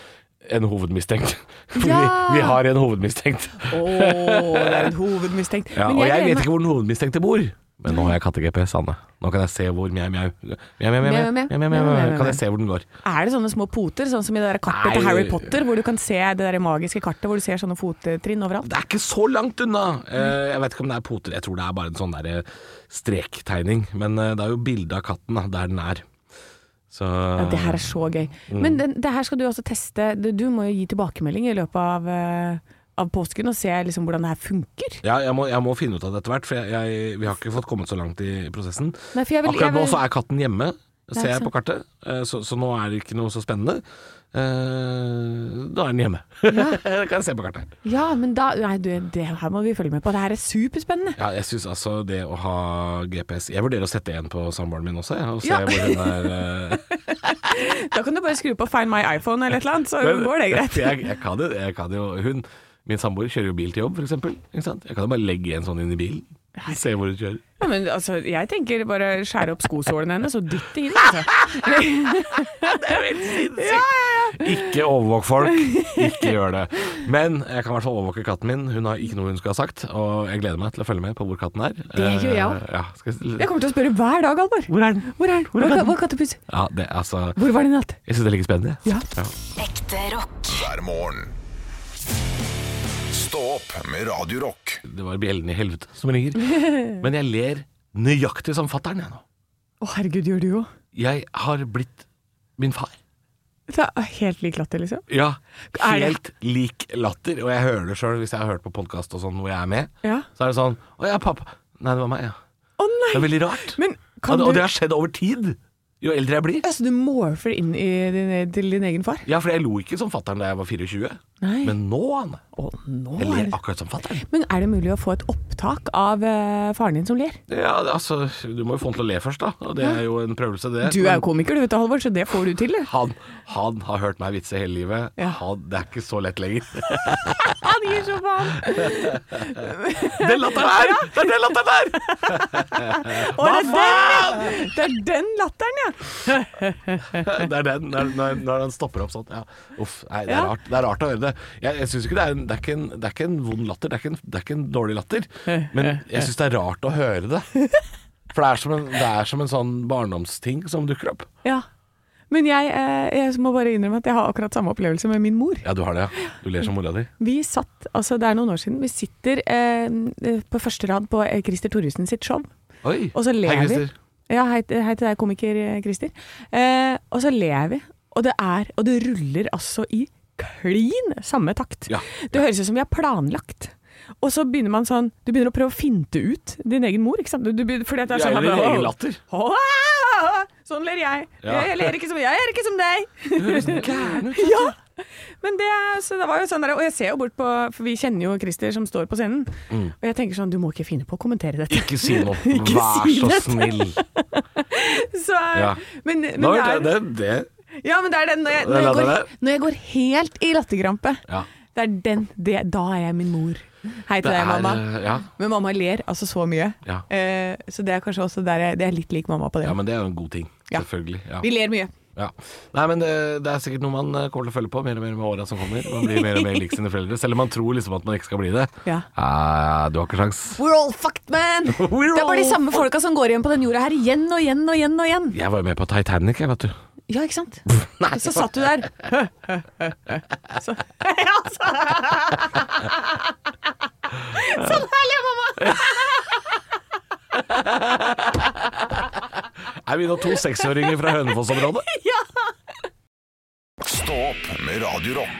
Speaker 4: en hovedmistenkt. Fordi
Speaker 3: Ja.
Speaker 4: vi har en hovedmistenkt.
Speaker 3: Å, det er en hovedmistenkt.
Speaker 4: Ja,
Speaker 3: Men
Speaker 4: og jeg
Speaker 3: gleder
Speaker 4: vet
Speaker 3: meg-
Speaker 4: ikke hvor den hovedmistenkte bor. Men nå har jeg katte-GPS, Anne. Nå kan jeg se hvor mjau, mjau. Mjau, mjau, mjau,
Speaker 3: Mjau, mjau.
Speaker 4: mjau, mjau, mjau, mjau. Kan jeg se hvor den går.
Speaker 3: Er det sånne små poter, sånn som i det der kartet til
Speaker 4: Nei.
Speaker 3: Harry Potter, hvor du kan se det der magiske kartet hvor du ser sånne fottrinn overalt?
Speaker 4: Det er ikke så langt unna. Eh, jeg vet ikke om det er poter, jeg tror det er bare en sånn der eh, strektegning. Men eh, det er jo bilde av katten da, der den er. Så
Speaker 3: Ja, det her er så gøy.
Speaker 4: Mm.
Speaker 3: Men den, det her skal du også teste. Du, du må jo gi tilbakemelding i løpet av, eh, av påsken og se liksom hvordan det her funker.
Speaker 4: ja, jeg, må, jeg må finne ut av det etter hvert, for jeg, jeg, vi har ikke fått kommet så langt i prosessen.
Speaker 3: Nei, for jeg vil- jeg
Speaker 4: Akkurat nå
Speaker 3: vil-
Speaker 4: så er katten hjemme, ser
Speaker 3: ikke
Speaker 4: jeg på kartet. Eh, Så, så nå er det ikke noe så spennende. Eh, Da er den hjemme. det kan (laughs) jeg se på kartet.
Speaker 3: Ja, men da Nei, du, det her må vi følge med på. Det her er superspennende.
Speaker 4: Ja, jeg syns altså det å ha GPS Jeg vurderer å sette en på samboeren min også, jeg, og se
Speaker 3: Ja.
Speaker 4: hvor hun er. eh,
Speaker 3: Da kan du bare skru på Find my iPhone eller et eller annet, så går det greit.
Speaker 4: (laughs) jeg, jeg kan jo, jeg kan jo hun, Min samboer kjører jo bil til jobb, for eksempel. Ikke sant? Jeg kan jo bare legge en sånn inn i bilen. Se hvor hun kjører.
Speaker 3: Ja, men altså, jeg tenker bare skjære opp skosålene hennes og dytte inn, altså. (laughs) det er helt sinnssykt. Ja, ja, ja.
Speaker 4: Ikke overvåk folk. Ikke gjør det. Men jeg kan i hvert fall overvåke katten min. Hun har ikke noe hun skulle ha sagt, og jeg gleder meg til å følge med på hvor katten er.
Speaker 3: Det gjør jeg også.
Speaker 4: Eh, Ja, skal
Speaker 3: Jeg
Speaker 4: jeg,
Speaker 3: kommer til å spørre hver dag, Alvor.
Speaker 4: hvor er den?
Speaker 3: Hvor er den? Hvor er, hvor er kattepus?
Speaker 4: Ja, det, altså,
Speaker 3: Hvor var den i natt?
Speaker 4: jeg syns det er like spennende.
Speaker 3: Ja.
Speaker 1: Ekte rock.
Speaker 2: hver morgen. Stå opp med Radio Rock.
Speaker 4: Det var bjellene i helvete som
Speaker 3: (laughs)
Speaker 4: ringer. Men jeg ler nøyaktig som fatter'n, jeg nå.
Speaker 3: Å, herregud, gjør du jo.
Speaker 4: Jeg har blitt min far.
Speaker 3: Det er helt lik latter, liksom.
Speaker 4: Ja,
Speaker 3: Er det-
Speaker 4: helt lik latter. Og jeg hører det sjøl hvis jeg har hørt på podkast og sånn hvor jeg er med.
Speaker 3: Ja.
Speaker 4: Så er det sånn Å ja, pappa. Nei, det var meg, ja.
Speaker 3: Å
Speaker 4: Det er
Speaker 3: nei!
Speaker 4: veldig rart.
Speaker 3: Men
Speaker 4: og,
Speaker 3: kan
Speaker 4: det- og
Speaker 3: du
Speaker 4: det har skjedd over tid. Jo eldre jeg blir.
Speaker 3: Altså, du morfer inn i din, til din egen far?
Speaker 4: Ja, for jeg lo ikke som fatter'n da jeg var 24.
Speaker 3: Nei.
Speaker 4: Men nå, Anne.
Speaker 3: Å, nå
Speaker 4: Jeg
Speaker 3: er
Speaker 4: ler
Speaker 3: det
Speaker 4: akkurat som fatter'n.
Speaker 3: Men er det mulig å få et opptak av eh, faren din som ler?
Speaker 4: Ja, det- altså, du må jo få han til å le først, da. Og det er jo en prøvelse, det.
Speaker 3: Du er
Speaker 4: Men
Speaker 3: jo komiker, du vet det, Halvor, så det får du til. du.
Speaker 4: han, han har hørt meg vitse hele livet.
Speaker 3: Ja.
Speaker 4: Han, det er ikke så
Speaker 3: (laughs)
Speaker 4: lett lenger.
Speaker 3: Han gir så faen!
Speaker 4: Den latteren der! Det er den latteren der!
Speaker 3: Å, det, er den, ja. det er den latteren, ja!
Speaker 4: (laughs) Det er den, når, når, når han stopper opp sånn. Ja. Uff, nei, det, er
Speaker 3: Ja.
Speaker 4: rart, det er rart å høre det. Jeg, jeg synes ikke det er, en, det, er ikke en, det er ikke en vond latter, det er ikke en, det er ikke en dårlig latter.
Speaker 3: Eh,
Speaker 4: Men jeg syns det er rart å høre
Speaker 3: (laughs)
Speaker 4: det. For det er som en, det er som en sånn barndomsting som dukker opp.
Speaker 3: ja. Men jeg, eh, jeg må bare innrømme at jeg har akkurat samme opplevelse med min mor.
Speaker 4: Ja, du har det, ja. Du ler som mora di.
Speaker 3: Vi satt, altså det er noen år siden, vi sitter eh, på første rad på eh, Christer Thoresen sitt show.
Speaker 4: Oi.
Speaker 3: Og så ler
Speaker 4: Hei,
Speaker 3: vi.
Speaker 4: Christer.
Speaker 3: Ja, hei, hei til deg, komiker eh, Christer. Eh, og så ler vi, og det er, og det ruller altså i klin samme takt.
Speaker 4: Ja.
Speaker 3: Det høres ut som vi har planlagt. Og så begynner man sånn, du begynner å prøve å finte ut din egen mor, ikke sant? Du, du, begynner- fordi at det er
Speaker 4: Ja,
Speaker 3: sånn,
Speaker 4: eller din
Speaker 3: «Åh,
Speaker 4: egen latter.
Speaker 3: «Åh, Sånn ler jeg.
Speaker 4: Ja.
Speaker 3: Jeg, jeg ler ikke som jeg er ikke som deg.
Speaker 4: Du
Speaker 3: (laughs)
Speaker 4: høres gæren ut. altså.
Speaker 3: Ja! Men det, er- så det var jo sånn der, og jeg ser jo bort på, for vi kjenner jo Christer som står på scenen, og jeg tenker sånn, du må ikke finne på å kommentere dette.
Speaker 4: Mm. Ikke si noe.
Speaker 3: Ikke
Speaker 4: Vær
Speaker 3: si
Speaker 4: så
Speaker 3: dette.
Speaker 4: snill.
Speaker 3: (laughs) Så, eh,
Speaker 4: Ja.
Speaker 3: men, (laughs) men
Speaker 4: Nå,
Speaker 3: det er-
Speaker 4: det, det,
Speaker 3: Ja, men det er den når jeg, når jeg,
Speaker 4: Det er det
Speaker 3: går,
Speaker 4: der.
Speaker 3: når jeg går helt i latterkrampe.
Speaker 4: Ja.
Speaker 3: Det er den. Det, da er jeg min mor. Hei til
Speaker 4: det
Speaker 3: deg,
Speaker 4: er
Speaker 3: mamma.
Speaker 4: eh, Ja.
Speaker 3: Men mamma ler altså så mye.
Speaker 4: Ja.
Speaker 3: Eh, så det er kanskje også der jeg det er litt lik mamma på det.
Speaker 4: ja, men det er jo en god ting.
Speaker 3: Ja.
Speaker 4: Selvfølgelig. Ja.
Speaker 3: Vi ler mye.
Speaker 4: Ja. Nei, men det, det er sikkert noe man eh, kommer til å følge på mer og mer med åra som kommer. Man blir mer og mer lik sine foreldre, selv om man tror liksom at man ikke skal bli det.
Speaker 3: Ja.
Speaker 4: Eh, du har ikke sjans.
Speaker 3: We're all fucked, man!
Speaker 4: (laughs) We're
Speaker 3: det er bare de
Speaker 4: all
Speaker 3: samme folka som går igjen på den jorda her igjen og igjen og igjen. og igjen
Speaker 4: Jeg var jo med på Titanic, jeg, vet du.
Speaker 3: Ja, ikke
Speaker 4: (laughs)
Speaker 3: sant? Og så satt du der. så, (laughs) ja, så. Sånn herlig, mamma!
Speaker 4: Er vi nå to seksåringer fra Hønefoss-området?
Speaker 3: Ja.
Speaker 2: Stå opp med Radio Rock.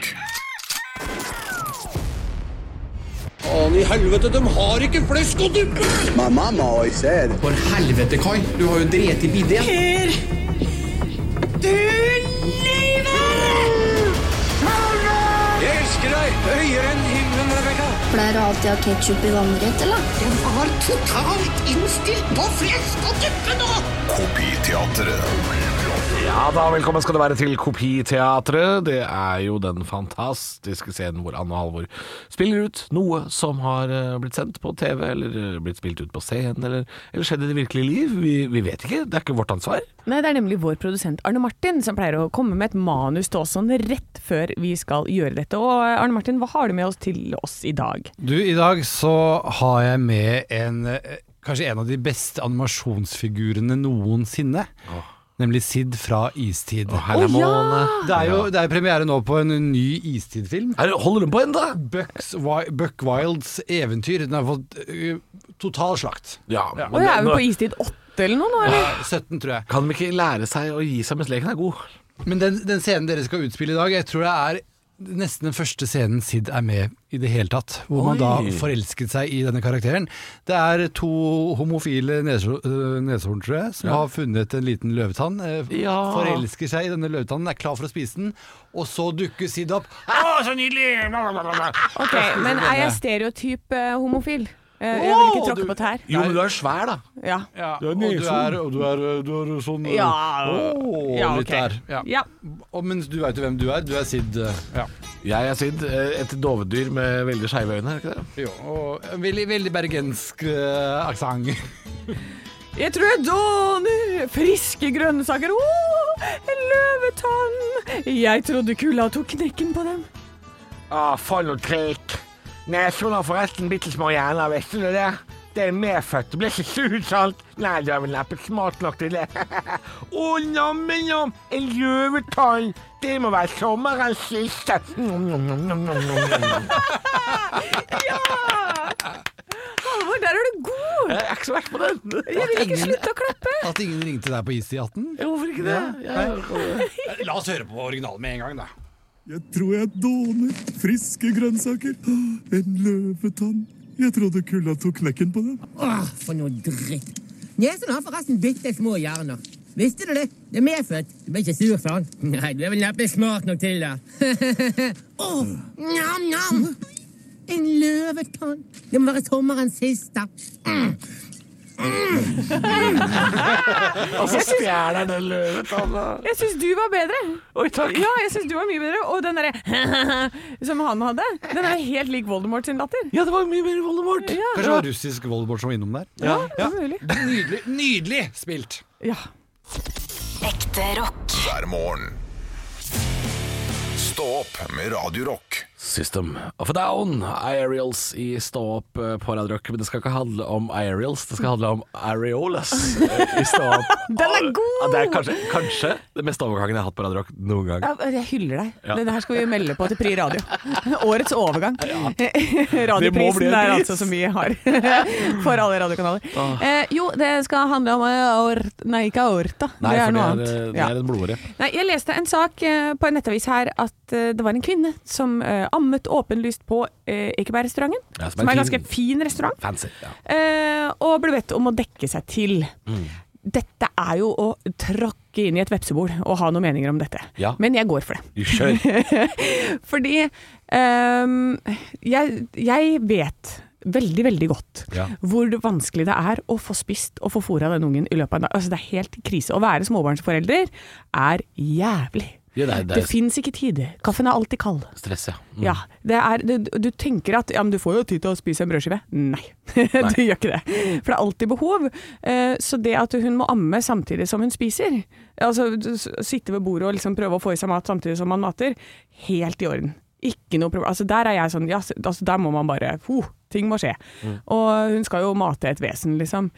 Speaker 7: Faen i helvete, de har ikke flesk og duppe!
Speaker 8: My mama always said,
Speaker 7: For helvete, Kai. Du har jo drept i bidé.
Speaker 8: Jeg elsker deg høyere enn himmelen, Rebekka. Pleier du alltid å ha ketsjup i vannrett, eller?
Speaker 9: Den var totalt innstilt på flest og duppe nå!
Speaker 2: Kopiteatret.
Speaker 4: Ja da, velkommen skal det være til Kopiteatret. Det er jo den fantastiske scenen hvor Anne og Halvor spiller ut noe som har eh, blitt sendt på TV, eller eh, blitt spilt ut på scenen, eller, eller skjedd i det virkelige liv. Vi, vi vet ikke, det er ikke vårt ansvar.
Speaker 3: Nei, det er nemlig vår produsent Arne Martin som pleier å komme med et manus til oss sånn rett før vi skal gjøre dette. Og eh, Arne Martin, hva har du med oss til oss i dag?
Speaker 10: Du, i dag så har jeg med en eh, Kanskje en av de beste animasjonsfigurene noensinne. Nemlig Sid fra Istid.
Speaker 4: Her er målene.
Speaker 10: Det er jo det er premiere nå på en ny Istid-film.
Speaker 4: Er det- Holder hun på ennå?
Speaker 10: Bucks, Wi- Buck Wilds eventyr. Den har fått eh, total slakt.
Speaker 4: Ja,
Speaker 3: Og
Speaker 4: men
Speaker 3: jeg er
Speaker 4: det-
Speaker 3: jo
Speaker 4: nå-
Speaker 3: på istid åtte eller noe nå, eller?
Speaker 10: 17, tror jeg.
Speaker 4: Kan de ikke lære seg å gi seg mens leken er god?
Speaker 10: Men den, den scenen dere skal utspille i dag, jeg tror det er nesten den første scenen Sid er med i det hele tatt. Hvor man da
Speaker 4: Oi.
Speaker 10: forelsket seg i denne karakteren. Det er to homofile neshor- øh, neshorn, tror jeg, som har funnet en liten løvetann. eh,
Speaker 4: Ja.
Speaker 10: Forelsker seg i denne løvetannen, er klar for å spise den, og så dukker Sid opp. Å, så nydelig!
Speaker 3: Ok, men er jeg stereotyp eh, homofil? Eh, jeg vil ikke tråkke på tær.
Speaker 4: Jo, men du er svær, da.
Speaker 3: Ja.
Speaker 10: Ja,
Speaker 4: Du er
Speaker 10: og du
Speaker 4: neshorn.
Speaker 10: er, og du er, du er sånn
Speaker 3: Ja,
Speaker 10: Åh,
Speaker 3: ja,
Speaker 10: litt
Speaker 3: ok.
Speaker 10: der. Ja.
Speaker 3: Ja.
Speaker 10: Og mens du veit jo hvem du er, du er Sid. eh, Ja.
Speaker 4: Jeg er Sid. eh, Et dovedyr med veldig skeive øyne, er det ikke det?
Speaker 10: Jo, og en veldig, veldig bergensk uh, aksent.
Speaker 3: Jeg tror jeg dåner, friske grønnsaker, åh, en løvetann. Jeg trodde kulda tok knekken på dem.
Speaker 4: Ah, for noe trekk. Neshorn har forresten bitte små hjerner, visste du det? Det er medfødt. Det blir ikke surt, sant? Nei, du er vel neppe smart nok til det. Å, oh, nam-nam, en løvetann. Det må være sommerens siste. Nom, nom, nom, nom, nom, nom, nom.
Speaker 3: Halvor, der er du god.
Speaker 4: Jeg er ikke så verst på den.
Speaker 3: Jeg vil ikke slutte å
Speaker 4: (laughs)
Speaker 3: klappe.
Speaker 10: At ingen ringte deg på Easy 18?
Speaker 4: Hvorfor ikke det?
Speaker 10: La oss høre på originalen med en gang, da.
Speaker 11: Jeg tror jeg dåner. Friske grønnsaker. Åh, En løvetann. Jeg trodde kulda tok knekken på dem.
Speaker 9: Åh, Ah, for noe dritt. Nesen har forresten bitte små hjerner. Visste du det? Det er medfødt. Du blir ikke sur, sant? Nei, du er vel neppe smart nok til det. (laughs) Åh, nam-nam! En løvetann. Det må være sommerens siste. Mm.
Speaker 4: Og (laughs) så stjeler han Altså, den løvetanna.
Speaker 3: Jeg syns du var bedre.
Speaker 4: Oi, takk.
Speaker 3: Ja, jeg syns du var mye bedre. Og den derre (laughs) som han hadde, den er helt lik Voldemort sin latter.
Speaker 4: Ja, det var mye mer Voldemort.
Speaker 10: Kanskje det var russisk Voldemort som var innom der?
Speaker 3: Ja, det er mulig.
Speaker 10: Nydelig, nydelig spilt!
Speaker 3: Ja.
Speaker 1: Ekte rock.
Speaker 2: hver morgen. Stå opp med Radio Rock.
Speaker 4: System of a Down, Aerials i Stå opp eh, på Radio Rock. Men det skal ikke handle om Aerials, det skal handle om Areolas eh, i Stå opp.
Speaker 3: Den er god!
Speaker 4: Ja, Det er kanskje, kanskje det meste overgangen jeg har hatt på Radio Rock noen gang.
Speaker 3: Ja, Jeg hyller deg. Denne her skal vi melde på til Pri
Speaker 4: (laughs)
Speaker 3: Radio. Årets overgang. (laughs)
Speaker 4: Det må bli
Speaker 3: Radioprisen
Speaker 4: en
Speaker 3: er
Speaker 4: pris.
Speaker 3: altså som vi har (laughs) for alle radiokanaler. Eh, jo, det skal handle om eh, aort... Nei, ikke aorta.
Speaker 4: Nei,
Speaker 3: det er
Speaker 4: for
Speaker 3: noe
Speaker 4: det
Speaker 3: annet.
Speaker 4: er, eh, det
Speaker 3: Ja.
Speaker 4: er en blodåre.
Speaker 3: Nei, jeg leste en sak eh, på en nettavis her at eh, det var en kvinne som eh, ammet åpenlyst på eh, Ekebergrestauranten,
Speaker 4: Ja, som er
Speaker 3: som er en
Speaker 4: en
Speaker 3: ganske
Speaker 4: fin-
Speaker 3: fin restaurant.
Speaker 4: Fancy. Ja.
Speaker 3: Eh, og ble bedt om å dekke seg til.
Speaker 4: Mm.
Speaker 3: Dette er jo å tråkke inn i et vepsebol og ha noen meninger om dette.
Speaker 4: Ja.
Speaker 3: Men jeg går for det.
Speaker 4: Du (laughs) kjører.
Speaker 3: Fordi ehm, jeg, jeg vet veldig, veldig godt
Speaker 4: Ja.
Speaker 3: hvor vanskelig det er å få spist og få fôra den ungen i løpet av en dag. Altså, det er helt krise. Å være småbarnsforelder er jævlig.
Speaker 4: Ja, det er- det er-
Speaker 3: det fins ikke tid. Kaffen er alltid kald.
Speaker 4: Stress, ja. Mm.
Speaker 3: Ja, det er, du, du tenker at ja, men du får jo tid til å spise en brødskive. Nei, (laughs) du gjør ikke det. For det er alltid behov. Eh, Så det at hun må amme samtidig som hun spiser, altså du s- sitte ved bordet og liksom prøve å få i seg mat samtidig som man mater, helt i orden. Ikke noe problem. Altså Der er jeg sånn, ja, s- altså der må man bare ho, Ting må skje.
Speaker 4: Mm.
Speaker 3: Og hun skal jo mate et vesen, liksom.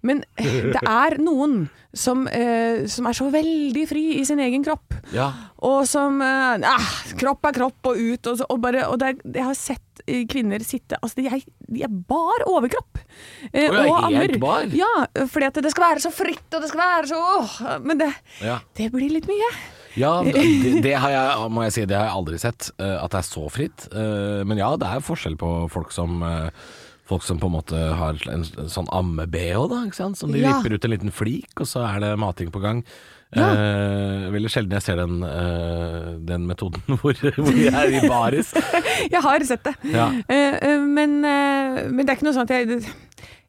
Speaker 4: (laughs)
Speaker 3: Men det er noen som, eh, som er så veldig fri i sin egen kropp.
Speaker 4: Ja.
Speaker 3: Og som eh, ah, Kropp er kropp og ut. Og, så, og, bare, og det, er- jeg har sett eh, kvinner sitte Altså, de er, de er bar overkropp. eh,
Speaker 4: Å, ja,
Speaker 3: og
Speaker 4: helt
Speaker 3: ammer.
Speaker 4: bar?
Speaker 3: Ja, fordi at det skal være så fritt, og det skal være så åh, Men det,
Speaker 4: Ja.
Speaker 3: det blir litt mye.
Speaker 4: Ja, det, det har jeg, må jeg si, det har jeg aldri sett, eh, at det er så fritt. Eh, Men ja, det er forskjell på folk som eh, folk som på en måte har en, en sånn amme-BH, da, ikke sant? som de
Speaker 3: Ja.
Speaker 4: vipper ut en liten flik, og så er det mating på gang.
Speaker 3: Ja.
Speaker 4: Eh, veldig sjelden jeg ser den, eh, den metoden (laughs) hvor, hvor de er i baris.
Speaker 3: (laughs) Jeg har sett det.
Speaker 4: Ja.
Speaker 3: Eh, eh, men, eh, men det er ikke noe sånn at jeg det-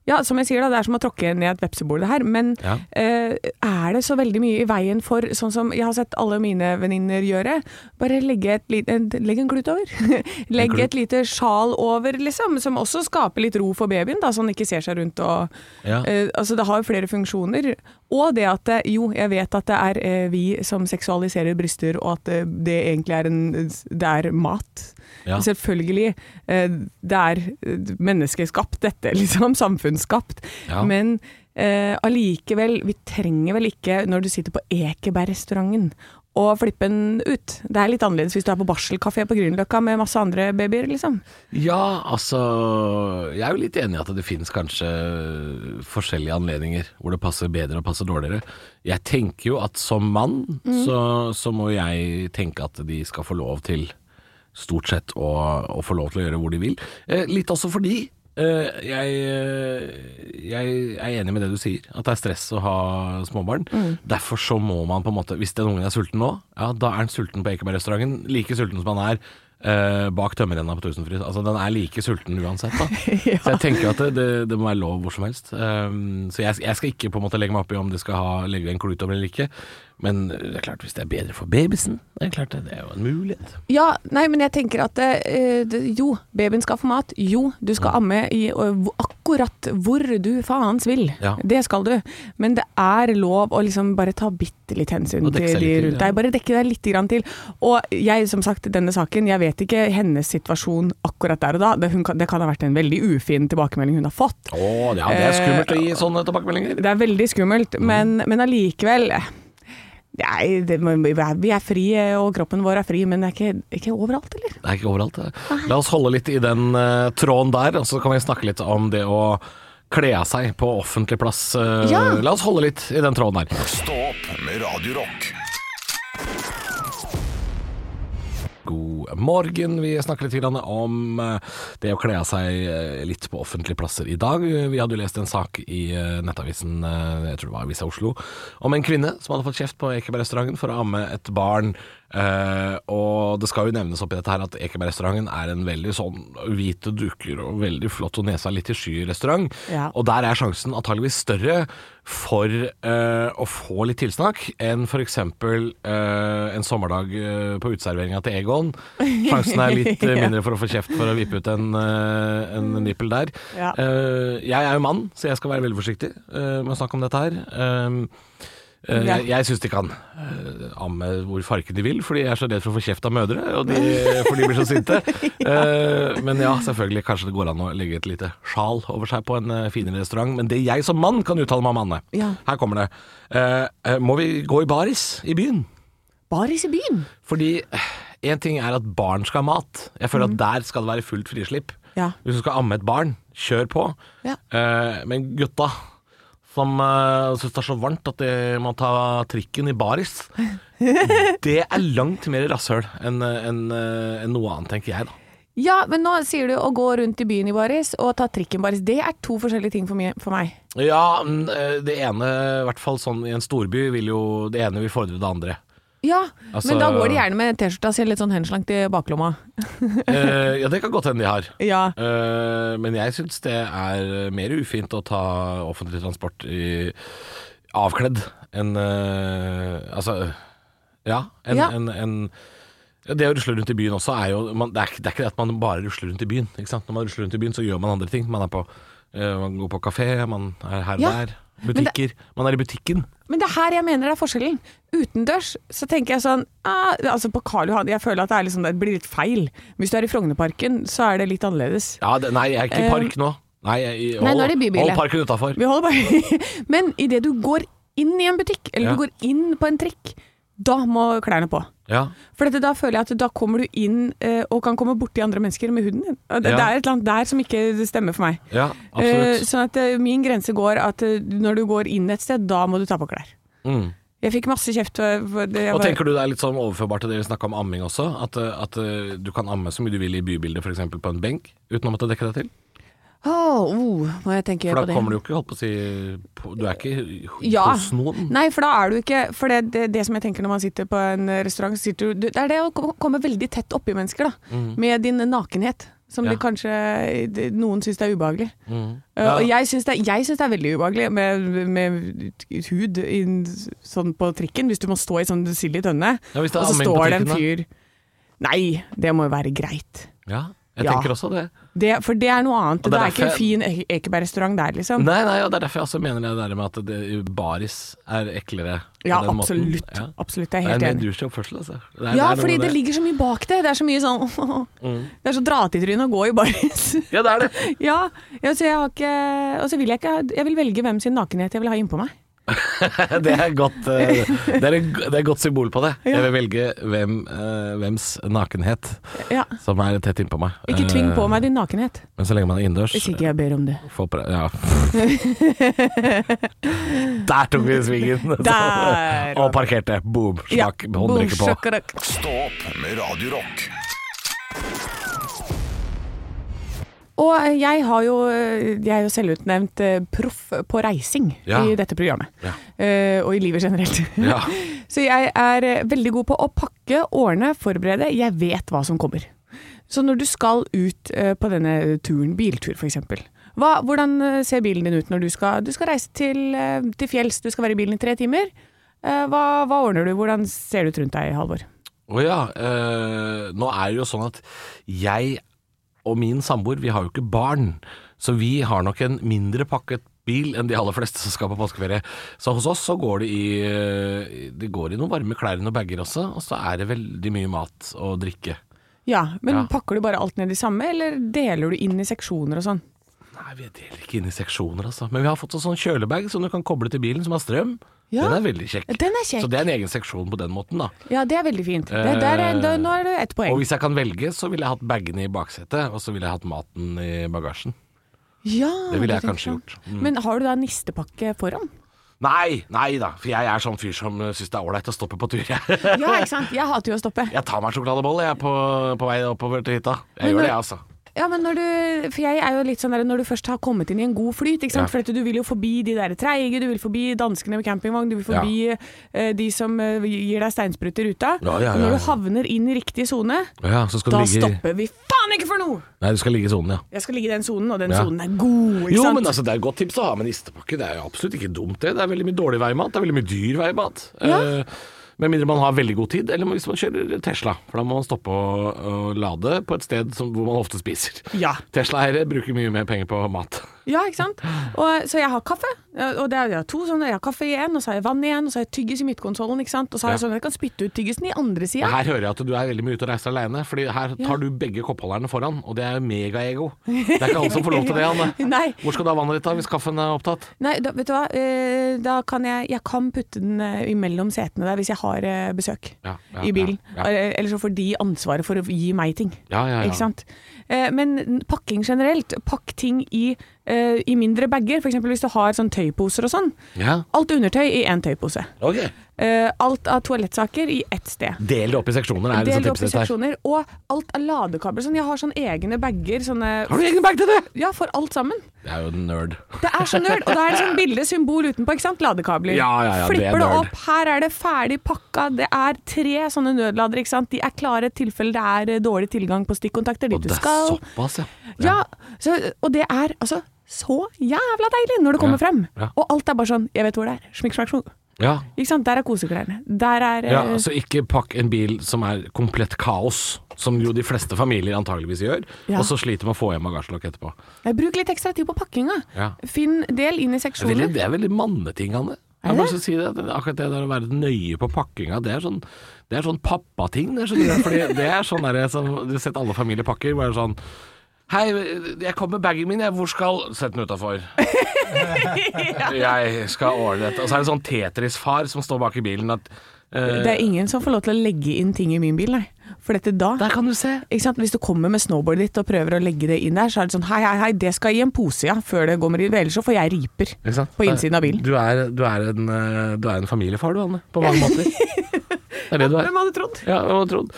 Speaker 3: ja, som jeg sier da, Det er som å tråkke ned et vepsebol, det her. Men
Speaker 4: Ja.
Speaker 3: eh, er det så veldig mye i veien for, sånn som jeg har sett alle mine venninner gjøre, bare legge, et, lit- en, legg en klut over? (laughs) legg
Speaker 4: klut.
Speaker 3: et lite sjal over, liksom. Som også skaper litt ro for babyen, da, så han ikke ser seg rundt og
Speaker 4: Ja.
Speaker 3: eh, Altså, det har jo flere funksjoner. Og det at eh, Jo, jeg vet at det er eh, vi som seksualiserer bryster, og at eh, det egentlig er en Det er mat.
Speaker 4: Ja.
Speaker 3: Selvfølgelig. eh, Det er eh, menneskeskapt, dette, (laughs) liksom. Samfunnsskapt.
Speaker 4: Ja.
Speaker 3: Men eh, allikevel, vi trenger vel ikke, når du sitter på Ekebergrestauranten, å flippe den ut. Det er litt annerledes hvis du er på barselkafé på Grünerløkka med masse andre babyer, liksom.
Speaker 4: Ja, altså Jeg er jo litt enig i at det finnes kanskje forskjellige anledninger hvor det passer bedre og passer dårligere. Jeg tenker jo at som mann så, så må jeg tenke at de skal få lov til stort sett å, å få lov til å gjøre hvor de vil. Eh, litt også fordi eh, jeg, eh, jeg er enig med det du sier, at det er stress å ha småbarn. Derfor så må man på en måte Hvis den ungen er sulten nå, ja, da er den sulten på Ekebergrestauranten. Like sulten som han er eh, bak tømmerrenna på Tusenfryd. Altså, den er like sulten uansett, da. Så jeg tenker at det, det, det må være lov hvor som helst. Um, så jeg, jeg skal ikke på en måte legge meg opp i om de skal ha, legge en klut over eller ikke. Men det er klart, hvis det er bedre for babysen, det er klart det, det er jo en mulighet.
Speaker 3: Ja, nei, men jeg tenker at eh, det- jo, babyen skal få mat. Jo, du skal amme i og hvor- akkurat hvor du faens vil.
Speaker 4: Ja.
Speaker 3: Det skal du. Men det er lov å liksom bare ta bitte litt hensyn til
Speaker 4: Og dekke seg
Speaker 3: de
Speaker 4: litt til,
Speaker 3: rundt
Speaker 4: ja.
Speaker 3: deg. Bare dekke deg litt grann til. Og jeg, som sagt, denne saken, jeg vet ikke hennes situasjon akkurat der og da. Det, hun kan, det kan ha vært en veldig ufin tilbakemelding hun har fått.
Speaker 4: Å, ja, det er skummelt å gi sånne tilbakemeldinger.
Speaker 3: Det er veldig skummelt,
Speaker 4: Mm.
Speaker 3: men, men allikevel eh, Nei, det, vi er fri, eh, og kroppen vår er fri, men det er ikke, ikke overalt, eller?
Speaker 4: Det er ikke overalt. det. La oss holde litt i den eh, tråden der, og så kan vi snakke litt om det å kle av seg på offentlig plass. Eh,
Speaker 3: Ja.
Speaker 4: La oss holde litt i den tråden der.
Speaker 2: Stå opp med Radio Rock.
Speaker 4: God morgen. Vi snakker litt grann om eh, det å kle av seg eh, litt på offentlige plasser i dag. Vi hadde jo lest en sak i eh, nettavisen, eh, jeg tror det var Avisa Oslo, om en kvinne som hadde fått kjeft på Ekebergrestauranten for å amme et barn. Eh, Og det skal jo nevnes oppi dette her at Ekebergrestauranten er en veldig sånn hvite duker og veldig flott og nesa litt i sky-restaurant.
Speaker 3: Ja.
Speaker 4: Og der er sjansen antageligvis større for eh, å få litt tilsnakk enn f.eks. Uh, en sommerdag eh, på uteserveringa til Egon. Sjansen er
Speaker 3: (laughs)
Speaker 4: litt eh, mindre for å få kjeft for å vippe ut en, eh, en nippel der.
Speaker 3: Ja.
Speaker 4: Eh, jeg er jo mann, så jeg skal være veldig forsiktig eh, med å snakke om dette her. Um, eh,
Speaker 3: Ja.
Speaker 4: Jeg, jeg syns de kan eh, amme hvor farken de vil, fordi jeg er så redd for å få kjeft av mødre, og de, for de blir så sinte. Eh, men ja, selvfølgelig, kanskje det går an å legge et lite sjal over seg på en eh, finere restaurant. Men det jeg som mann kan uttale meg om Anne,
Speaker 3: Ja.
Speaker 4: her kommer det. Eh, eh, må vi gå i baris i byen?
Speaker 3: Baris i byen?
Speaker 4: Fordi eh, en ting er at barn skal ha mat. Jeg føler at der skal det være fullt frislipp.
Speaker 3: Mhm. Ja.
Speaker 4: Hvis du skal amme et barn, kjør på.
Speaker 3: Ja.
Speaker 4: Eh, men gutta som uh, syns det er så varmt at de må ta trikken i
Speaker 3: (laughs)
Speaker 4: baris, det er langt mer rasshøl enn enn, eh, enn noe annet, tenker jeg, da.
Speaker 3: Ja, men nå sier du å gå rundt i byen i baris og ta trikken baris. Det er to forskjellige ting for, mye- for meg.
Speaker 4: Ja, mm, eh, det ene, i hvert fall sånn i en storby, vil jo det ene vil fordre det andre.
Speaker 3: Ja,
Speaker 4: Altså-
Speaker 3: men da går de gjerne med T-skjorta si litt sånn henslangt i baklomma.
Speaker 4: Eh, ja, det kan godt hende de har.
Speaker 3: Ja.
Speaker 4: Eh, men jeg syns det er mer ufint å ta offentlig transport i, avkledd enn eh, Altså, ja. Enn
Speaker 3: Ja.
Speaker 4: enn- enn- ja, det å rusle rundt i byen også er jo man, det, er, ikke- det er ikke det at man bare rusler rundt i byen. Ikke sant? Når man rusler rundt i byen, så gjør man andre ting. Man, er på, eh, man går på kafé, man er her og
Speaker 3: Ja.
Speaker 4: der.
Speaker 3: Men det-
Speaker 4: Butikker. Man er i butikken.
Speaker 3: Men det er her jeg mener det er forskjellen. Utendørs så tenker jeg sånn ah, Altså på Karl Johan, jeg føler at det, er liksom, det blir litt feil. Hvis du er i Frognerparken, så er det litt annerledes.
Speaker 4: Ja, det, nei, jeg er ikke i park nå. Nei, jeg, i-
Speaker 3: Eh, Nei, nå
Speaker 4: hold-
Speaker 3: er det bybildet.
Speaker 4: Hold parken utafor.
Speaker 3: Vi holder bare (laughs) Men idet du går inn i en butikk, eller
Speaker 4: Ja.
Speaker 3: du går inn på en trikk, da må klærne på.
Speaker 4: Ja.
Speaker 3: For dette, da føler jeg at da kommer du inn eh, og kan komme borti andre mennesker med huden din. Og Det,
Speaker 4: Ja.
Speaker 3: det er et eller annet der som ikke stemmer for meg.
Speaker 4: ja,
Speaker 3: Eh,
Speaker 4: absolutt.
Speaker 3: sånn at eh, min grense går at eh, når du går inn et sted, da må du ta på klær.
Speaker 4: Mm.
Speaker 3: Jeg fikk masse kjeft for, for det. jeg
Speaker 4: Og
Speaker 3: bare-
Speaker 4: tenker du det er litt sånn overførbart til det vi snakka om amming også? At, eh, at eh, du kan amme så mye du vil i bybildet, f.eks. på en benk, uten å måtte dekke deg til?
Speaker 3: Åh, oh, må jeg tenke på
Speaker 4: For da
Speaker 3: det.
Speaker 4: kommer du jo ikke holdt på å si på- Du er ikke h-
Speaker 3: ja.
Speaker 4: hos noen.
Speaker 3: Nei, for da er du ikke For det, det, det som jeg tenker når man sitter på en eh, restaurant, så sitter du Det er det å ko- komme veldig tett oppi mennesker, da.
Speaker 4: Mhm.
Speaker 3: Med din nakenhet. Som
Speaker 4: Ja.
Speaker 3: de kanskje de, Noen syns det er ubehagelig.
Speaker 4: Mm.
Speaker 3: Uh, Og jeg syns det, jeg syns det er veldig ubehagelig med, med hud inn, sånn på trikken, hvis du må stå i sånn sild i tønne,
Speaker 4: Ja, hvis det er
Speaker 3: og så
Speaker 4: amming på
Speaker 3: står det en
Speaker 4: trikken,
Speaker 3: fyr Nei, det må jo være greit.
Speaker 4: Ja, jeg
Speaker 3: Ja.
Speaker 4: tenker også det.
Speaker 3: Det, for det er noe annet. Det
Speaker 4: Og det
Speaker 3: er,
Speaker 4: er
Speaker 3: ikke en
Speaker 4: derfor-
Speaker 3: fin Eke- Ekeberg-restaurant der, liksom.
Speaker 4: Nei, nei, og det er derfor jeg også mener det der med at det, baris er eklere. på
Speaker 3: Ja,
Speaker 4: den måten.
Speaker 3: absolutt.
Speaker 4: Ja.
Speaker 3: Absolutt, jeg er
Speaker 4: Det er
Speaker 3: helt
Speaker 4: en mer
Speaker 3: enig.
Speaker 4: douche oppførsel, altså. Det er-
Speaker 3: ja,
Speaker 4: det er noe
Speaker 3: fordi
Speaker 4: med
Speaker 3: det ligger så mye bak det. Det er så mye sånn (laughs)
Speaker 4: Mm.
Speaker 3: Det er så dra til trynet og gå i baris.
Speaker 4: Ja, det er det.
Speaker 3: (laughs)
Speaker 4: (laughs)
Speaker 3: ja, ja, så jeg har ikke Og så vil jeg ikke ha Jeg vil velge hvem sin nakenhet jeg vil ha innpå meg.
Speaker 4: det, er godt, eh, det, er en, det er et godt symbol på det.
Speaker 3: Ja.
Speaker 4: Jeg vil velge hvem, eh, hvems nakenhet
Speaker 3: Ja.
Speaker 4: som er tett innpå meg.
Speaker 3: Ikke tving
Speaker 4: Eh,
Speaker 3: på meg din nakenhet,
Speaker 4: Men så lenge man er innendørs
Speaker 3: hvis ikke jeg ber om det.
Speaker 4: får pre-
Speaker 3: (laughs)
Speaker 4: ja. (laughs) Der tok vi svingen!
Speaker 3: Der.
Speaker 4: (laughs) og parkerte. Boom! Smakk. Håndbrekket på.
Speaker 3: sjakkarakk.
Speaker 2: Stå opp med Radio Rock.
Speaker 3: Og eh, jeg, har jo, eh, jeg er jo selvutnevnt eh, proff på reising
Speaker 4: Ja.
Speaker 3: i dette programmet.
Speaker 4: Ja.
Speaker 3: Eh, og i livet generelt.
Speaker 4: (laughs) Ja.
Speaker 3: (laughs) Så jeg er eh, veldig god på å pakke, ordne, forberede. Jeg vet hva som kommer. Så når du skal ut eh, på denne turen, biltur f.eks. Hvordan eh, ser bilen din ut når du skal, du skal reise til, eh, til fjells? Du skal være i bilen i tre timer. Eh, Hva, hva ordner du? Hvordan ser det ut rundt deg, Halvor?
Speaker 4: Å ja. eh, nå er det jo sånn at jeg og min samboer, vi har jo ikke barn. Så vi har nok en mindre pakket bil enn de aller fleste som skal på påskeferie. Så hos oss så går det i, eh, det går i noen varme klær og noen bager også, og så er det veldig mye mat og drikke.
Speaker 3: Ja, Men
Speaker 4: Ja.
Speaker 3: pakker du bare alt ned i samme, eller deler du inn i seksjoner og sånn?
Speaker 4: Nei, vi deler ikke inn i seksjoner, altså. Men vi har fått en sånn kjølebag som du kan koble til bilen, som har strøm.
Speaker 3: Ja.
Speaker 4: Den er veldig kjekk.
Speaker 3: Den er kjekk.
Speaker 4: Så det er en egen seksjon på den måten, da.
Speaker 3: Ja, det er veldig fint. Det, der er, da, nå er det ett
Speaker 4: Eh, Og
Speaker 3: poeng.
Speaker 4: hvis jeg kan velge, så ville jeg hatt bagene i baksetet, og så ville jeg hatt maten i bagasjen.
Speaker 3: Ja,
Speaker 4: Det ville jeg
Speaker 3: tenker
Speaker 4: kanskje
Speaker 3: sånn.
Speaker 4: gjort. Mm.
Speaker 3: Men har du da nistepakke foran?
Speaker 4: Nei, nei da, for jeg er sånn fyr som eh, syns det er ålreit å stoppe på tur, jeg. (laughs)
Speaker 3: Ja, ikke sant? Jeg hater jo å stoppe.
Speaker 4: Jeg tar meg en sjokoladebolle jeg, på, på vei oppover til hytta. Jeg
Speaker 3: Men
Speaker 4: gjør det,
Speaker 3: når-
Speaker 4: jeg, altså.
Speaker 3: Ja, men når du, for jeg er jo litt sånn der, når du først har kommet inn i en god flyt, ikke sant?
Speaker 4: Ja.
Speaker 3: for at du vil jo forbi de der treige, du vil forbi danskene med campingvogn, du vil
Speaker 4: Ja.
Speaker 3: forbi eh, de som eh, gir deg steinsprut i ruta.
Speaker 4: Ja, ja,
Speaker 3: Og Når
Speaker 4: ja,
Speaker 3: du
Speaker 4: ja.
Speaker 3: havner inn i riktig sone,
Speaker 4: Ja, så skal
Speaker 3: da
Speaker 4: du ligge i
Speaker 3: stopper vi faen ikke for noe!
Speaker 4: Nei, du skal ligge i sonen, ja.
Speaker 3: Jeg skal ligge i den sonen, og den
Speaker 4: Ja.
Speaker 3: sonen er god, ikke
Speaker 4: Jo,
Speaker 3: sant?
Speaker 4: men altså, det er et godt tips å ha med nistepakke. Det er jo absolutt ikke dumt, det. Det er veldig mye dårlig veimat. Det er veldig mye dyr veimat.
Speaker 3: Ja.
Speaker 4: Eh, Med mindre man har veldig god tid, eller hvis man kjører Tesla. For da må man stoppe og, og lade på et sted som, hvor man ofte spiser.
Speaker 3: Ja.
Speaker 4: Tesla-eiere bruker mye mer penger på mat.
Speaker 3: Ja, ikke sant? Og, så jeg har kaffe, og det er, jeg har to sånne. Jeg har kaffe i en, og så har jeg vann i en, og så har jeg tyggis i midtkonsollen, ikke sant? Og så har jeg
Speaker 4: Ja.
Speaker 3: sånn at jeg kan spytte ut tyggisen i andre sida.
Speaker 4: Her hører jeg at du er veldig mye ute og reiser alene, Fordi her
Speaker 3: Ja.
Speaker 4: tar du begge koppholderne foran, og det er jo megaego. Det er ikke alle som får lov til det, Anne.
Speaker 3: (laughs) (laughs) Nei.
Speaker 4: Hvor skal du ha vannet ditt da, hvis kaffen er opptatt?
Speaker 3: Nei, da, vet du hva? Eh, Da kan jeg, jeg kan putte den eh, imellom setene der hvis jeg har eh, besøk
Speaker 4: Ja, ja,
Speaker 3: i bilen. Eh,
Speaker 4: ja, ja.
Speaker 3: Eller- Eller så får de ansvaret for å gi meg ting.
Speaker 4: Ja, ja, ja.
Speaker 3: Ikke sant? Eh, Men pakking generelt, pakk ting i, eh, i mindre bager. F.eks. hvis du har sånn tøyposer og sånn.
Speaker 4: Ja,
Speaker 3: Alt undertøy i én tøypose.
Speaker 4: ok.
Speaker 3: Eh, Alt av toalettsaker i ett sted.
Speaker 4: Del det opp i seksjoner, er
Speaker 3: Del
Speaker 4: liksom
Speaker 3: det opp i
Speaker 4: tipset her.
Speaker 3: seksjoner. Og alt av ladekabler. Sånn, jeg har sånne egne bager. Sånne,
Speaker 4: Har du egen bag til det?
Speaker 3: ja, for alt sammen.
Speaker 4: Det er jo en nerd.
Speaker 3: Det er så nerd. Og da er det sånn bilde, symbol utenpå, ikke sant? Ladekabler.
Speaker 4: Ja, ja, ja, det er
Speaker 3: Flipper det,
Speaker 4: nerd.
Speaker 3: opp, her er det ferdig pakka. Det er tre sånne nødladere, ikke sant. De er klare i tilfelle det er eh, dårlig tilgang på stikkontakter dit
Speaker 4: Og
Speaker 3: du
Speaker 4: det er
Speaker 3: skal.
Speaker 4: såpass, ja.
Speaker 3: Ja, så, og det er altså så jævla deilig når det kommer
Speaker 4: Ja,
Speaker 3: frem.
Speaker 4: ja.
Speaker 3: Og alt er bare sånn, jeg vet hvor det er. Smikk, smakk, smukk.
Speaker 4: Ja.
Speaker 3: Ikke sant. Der er koseklærne. Der er eh,
Speaker 4: ja, altså ikke pakk en bil som er komplett kaos, som jo de fleste familier antageligvis gjør,
Speaker 3: Ja.
Speaker 4: og så sliter med å få hjem bagasjelokk etterpå.
Speaker 3: Nei, Bruk litt ekstra tid på pakkinga.
Speaker 4: Ja.
Speaker 3: Finn del inn i
Speaker 4: Det er veldig,
Speaker 3: seksjoner.
Speaker 4: det er veldig manneting, Anne.
Speaker 3: Er
Speaker 4: Jeg må
Speaker 3: det?
Speaker 4: også si det, at akkurat det der å være nøye på pakkinga, det er sånn, det er sånn pappating. Det, skjønner du, fordi det er sånn der, som du har sett alle familier pakker, bare sånn Hei, jeg kom med bagen min, jeg. Hvor skal Sett den
Speaker 3: (laughs)
Speaker 4: utafor. Jeg skal ordne dette. Og så er det sånn Tetris-far som står bak i bilen at eh,
Speaker 3: Det er ingen som får lov til å legge inn ting i min bil, nei. For dette da
Speaker 4: Der kan du se.
Speaker 3: ikke sant? Hvis du kommer med snowboardet ditt og prøver å legge det inn der, så er det sånn hei, hei, hei, det skal i en pose, ja, før det går med rive, ellers så får jeg riper
Speaker 4: Ikke sant?
Speaker 3: på innsiden av bilen.
Speaker 4: Du er, du er, en, eh, du er en familiefar, du, Anne. På mange
Speaker 3: (laughs)
Speaker 4: måter. Det er det du er.
Speaker 3: Hvem hadde trodd?
Speaker 4: Ja, jeg trodd.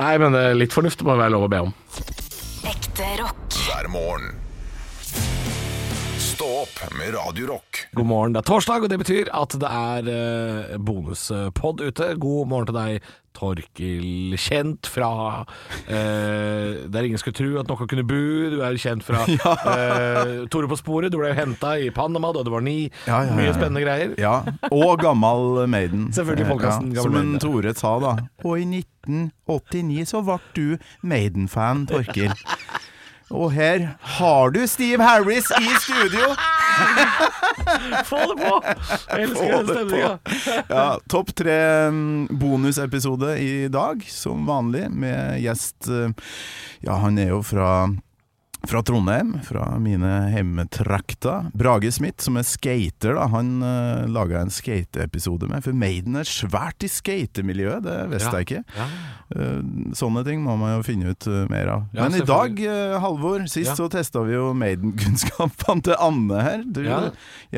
Speaker 4: Nei, men eh, litt fornuft må være lov å be om.
Speaker 1: Ekte rock.
Speaker 2: hver morgen. Stå opp med Radio Rock.
Speaker 4: God morgen, det er torsdag, og det betyr at det er eh, bonuspod ute. God morgen til deg, Torkil, kjent fra eh, Der ingen skulle tro at noe kunne bu. Du er kjent
Speaker 10: (laughs)
Speaker 4: fra eh, Tore på sporet. Du ble henta i Panama da du var ni.
Speaker 10: Ja, ja, ja, ja.
Speaker 4: Mye spennende greier.
Speaker 10: Ja, og gammal Maiden.
Speaker 4: Selvfølgelig podcasten
Speaker 10: Eh,
Speaker 4: Gammel
Speaker 10: Som
Speaker 4: Maiden.
Speaker 10: en Tore sa, da. Og i 1989 så ble du Maiden-fan, Torkil. Og her har du Steve Harris i studio!
Speaker 4: Få det på! Jeg elsker
Speaker 10: Få
Speaker 4: den
Speaker 10: det
Speaker 4: stemninga.
Speaker 10: på. Ja, Topp tre mm, bonusepisode i dag, som vanlig, med gjest eh, Ja, han er jo fra fra Trondheim, fra mine hjemmetrakter. Brage Smith, som er skater, da, han uh, laga en skateepisode med. For Maiden er svært i skatemiljøet, det visste jeg ikke. Eh, sånne ting må man jo finne ut eh, mer av.
Speaker 4: Ja,
Speaker 10: Men i dag,
Speaker 4: selvfølgelig.
Speaker 10: eh, Halvor, sist
Speaker 4: Ja.
Speaker 10: så testa vi jo Maiden-kunnskapene til Anne her. Du, ja.
Speaker 4: Ja.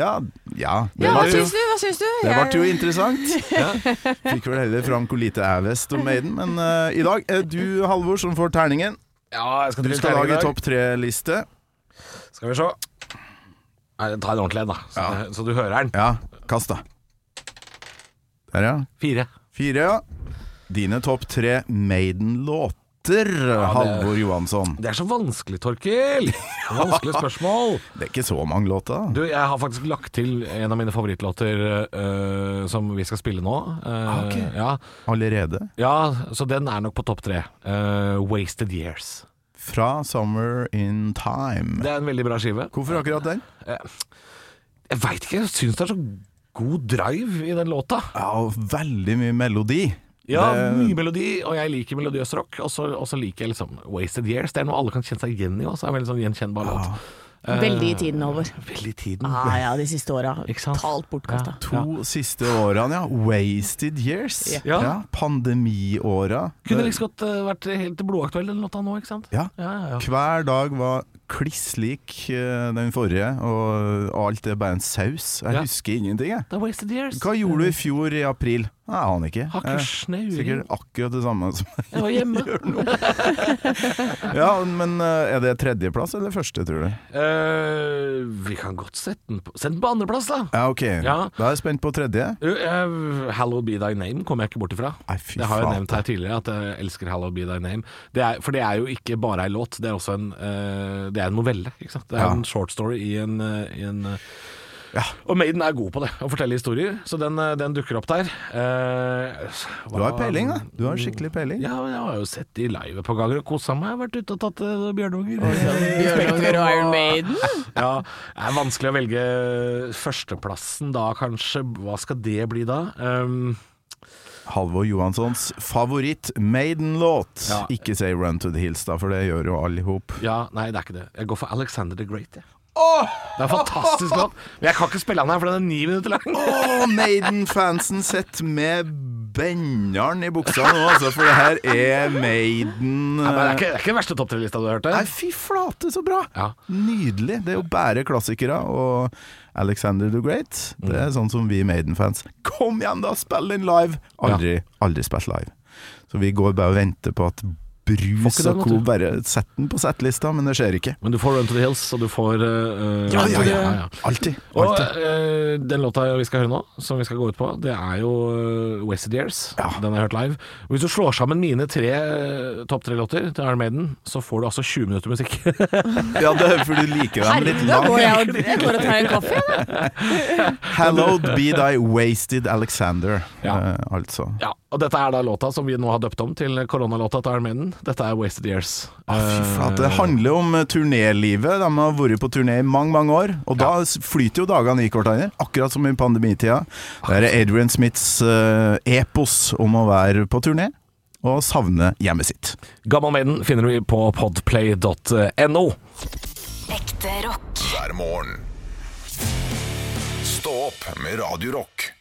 Speaker 10: ja, det
Speaker 3: Ja, hva
Speaker 10: var jo-
Speaker 3: syns du? Hva syns du?
Speaker 10: det
Speaker 3: Jeg-
Speaker 10: ble jo interessant. Fikk vel heller fram hvor lite jeg visste om Maiden. Men eh, i dag, eh, du Halvor, som får terningen.
Speaker 4: Ja, jeg skal
Speaker 10: Du
Speaker 4: trykke
Speaker 10: skal
Speaker 4: terning i
Speaker 10: lage
Speaker 4: dag.
Speaker 10: topp tre-liste.
Speaker 4: Skal vi se. Nei, ta en ordentlig en, da. Så, så du hører den.
Speaker 10: Ja, kast, da. Der, ja.
Speaker 4: Fire.
Speaker 10: Fire, ja. Dine topp tre Maiden-låter, Halvor Johansson.
Speaker 4: Det er så vanskelig, (laughs) Torkil. Det er Vanskelig spørsmål.
Speaker 10: Det er ikke så mange låter. da.
Speaker 4: Du, jeg har faktisk lagt til en av mine favorittlåter øh, som vi skal spille nå. Eh,
Speaker 10: ok.
Speaker 4: ja.
Speaker 10: Allerede.
Speaker 4: ja, så den er nok på topp tre. Eh, 'Wasted Years'.
Speaker 10: Fra 'Summer In Time'.
Speaker 4: Det er en veldig bra skive.
Speaker 10: Hvorfor akkurat den?
Speaker 4: Jeg veit ikke, jeg syns det er så god drive i den låta.
Speaker 10: Ja, og veldig mye melodi.
Speaker 4: Ja,
Speaker 10: Det-
Speaker 4: mye melodi, og jeg liker melodiøs rock. Og så og så liker jeg liksom 'Wasted Years'. Det er noe alle kan kjenne seg igjen i. Også. Det er en veldig sånn gjenkjennbar låt.
Speaker 12: Veldig i tiden over.
Speaker 4: Veldig i tiden.
Speaker 12: Ah, ja, de siste åra.
Speaker 4: Eh, Ikke sant?
Speaker 12: Totalt bortkasta.
Speaker 10: To siste årene, ja. Wasted years.
Speaker 12: Ja.
Speaker 10: Ja. Pandemiåra.
Speaker 4: Kunne liksom godt eh, vært helt blodaktuell, den låta nå, ikke sant?
Speaker 10: Ja. Hver dag var kliss lik eh, den forrige, og alt er bare en saus. Jeg
Speaker 4: Ja.
Speaker 10: husker ingenting, jeg.
Speaker 4: Det er 'Wasted Years'.
Speaker 10: Hva gjorde du i fjor i april? Nei, Jeg aner ikke.
Speaker 4: Har ikke
Speaker 10: Eh,
Speaker 4: snøring.
Speaker 10: Sikkert akkurat det samme som (laughs)
Speaker 4: Jeg var hjemme.
Speaker 10: Ja, men eh, er det tredjeplass eller første, tror du?
Speaker 4: (laughs) Eh, vi kan godt sette den på Sett den på andreplass, da.
Speaker 10: Ja, ok.
Speaker 4: Ja.
Speaker 10: Da er jeg spent på tredje.
Speaker 4: Du, eh, 'Hallow Be Thy Name' kommer jeg ikke bort ifra.
Speaker 10: Nei, fy
Speaker 4: det har jeg
Speaker 10: flate.
Speaker 4: nevnt her tidligere, at jeg elsker 'Hallow Be Thy Name'. Det er, for det er jo ikke bare ei låt, det er også en, eh, det er en novelle. Ikke sant? Det er
Speaker 10: Ja.
Speaker 4: en short story i en, eh, i en eh, Og Maiden er god på det, å fortelle historier, så den, eh, den dukker opp der. Eh,
Speaker 10: Du har peiling, da. Du har skikkelig peiling.
Speaker 4: Ja, men jeg har jo sett de live et par ganger og kosa meg. Jeg har Vært ute og tatt eh, bjørnunger.
Speaker 12: Bjørnunger og Iron Maiden.
Speaker 4: Ja, det er vanskelig å velge førsteplassen da, kanskje. Hva skal det bli da? Um,
Speaker 10: Halvor Johanssons favoritt Maiden-låt.
Speaker 4: Ja.
Speaker 10: Ikke si 'Run to the Hills', da, for det gjør jo alle i hop.
Speaker 4: ja, nei, det er ikke det. Jeg går for Alexander the Great. Jeg. Det er en fantastisk låt, men jeg kan ikke spille den her, for den er ni minutter lang.
Speaker 10: Åh, Maiden-fansen sitter med benneren i buksa nå, altså, for det her er Maiden
Speaker 4: Nei, men det, er ikke, det er ikke den verste topp tre-lista du har hørt.
Speaker 10: Nei,
Speaker 4: Det.
Speaker 10: fy flate, så bra!
Speaker 4: Ja.
Speaker 10: Nydelig. Det er jo bare klassikere. Og Alexander the Great, det
Speaker 4: Mm.
Speaker 10: er sånn som vi Maiden-fans Kom igjen, da! Spill den live! Aldri, aldri spilt live. Så vi går bare og venter på at Brus
Speaker 4: Får ikke den,
Speaker 10: og
Speaker 4: vet
Speaker 10: co.
Speaker 4: du.
Speaker 10: bare setter den på settlista, men det skjer ikke.
Speaker 4: Men du får Run to the Hills, og du får eh,
Speaker 10: Ja, ja,
Speaker 4: eh,
Speaker 10: ja. Alltid.
Speaker 4: Og
Speaker 10: alltid.
Speaker 4: eh, den låta vi skal høre nå, som vi skal gå ut på, det er jo uh, Wasted Years. Den har jeg hørt live. Og hvis du slår sammen mine tre eh, topp tre låter til Iron Maiden, så får du altså 20 minutter musikk. (laughs)
Speaker 10: Ja, det er fordi du liker dem litt
Speaker 12: Da går jeg
Speaker 10: langt.
Speaker 12: og, jeg går og tar en kaffe, jeg, da.
Speaker 10: Hallowed be thy wasted Alexander,
Speaker 4: Ja.
Speaker 10: eh, altså.
Speaker 4: ja, og dette er da låta som vi nå har døpt om til koronalåta til Iron Maiden. Dette er Wasted Years.
Speaker 10: Ah, fy flate. Det
Speaker 4: Eh,
Speaker 10: handler om eh, turnélivet. De har vært på turné i mange mange år, og da s- flyter jo dagene i hverandre. Akkurat som i pandemitida. Der er Adrian Smiths eh, epos om å være på turné og savne hjemmet sitt.
Speaker 4: Gammal Maiden finner du på podplay.no.
Speaker 1: Ekte rock.
Speaker 2: hver morgen. Stå opp med Radio Rock.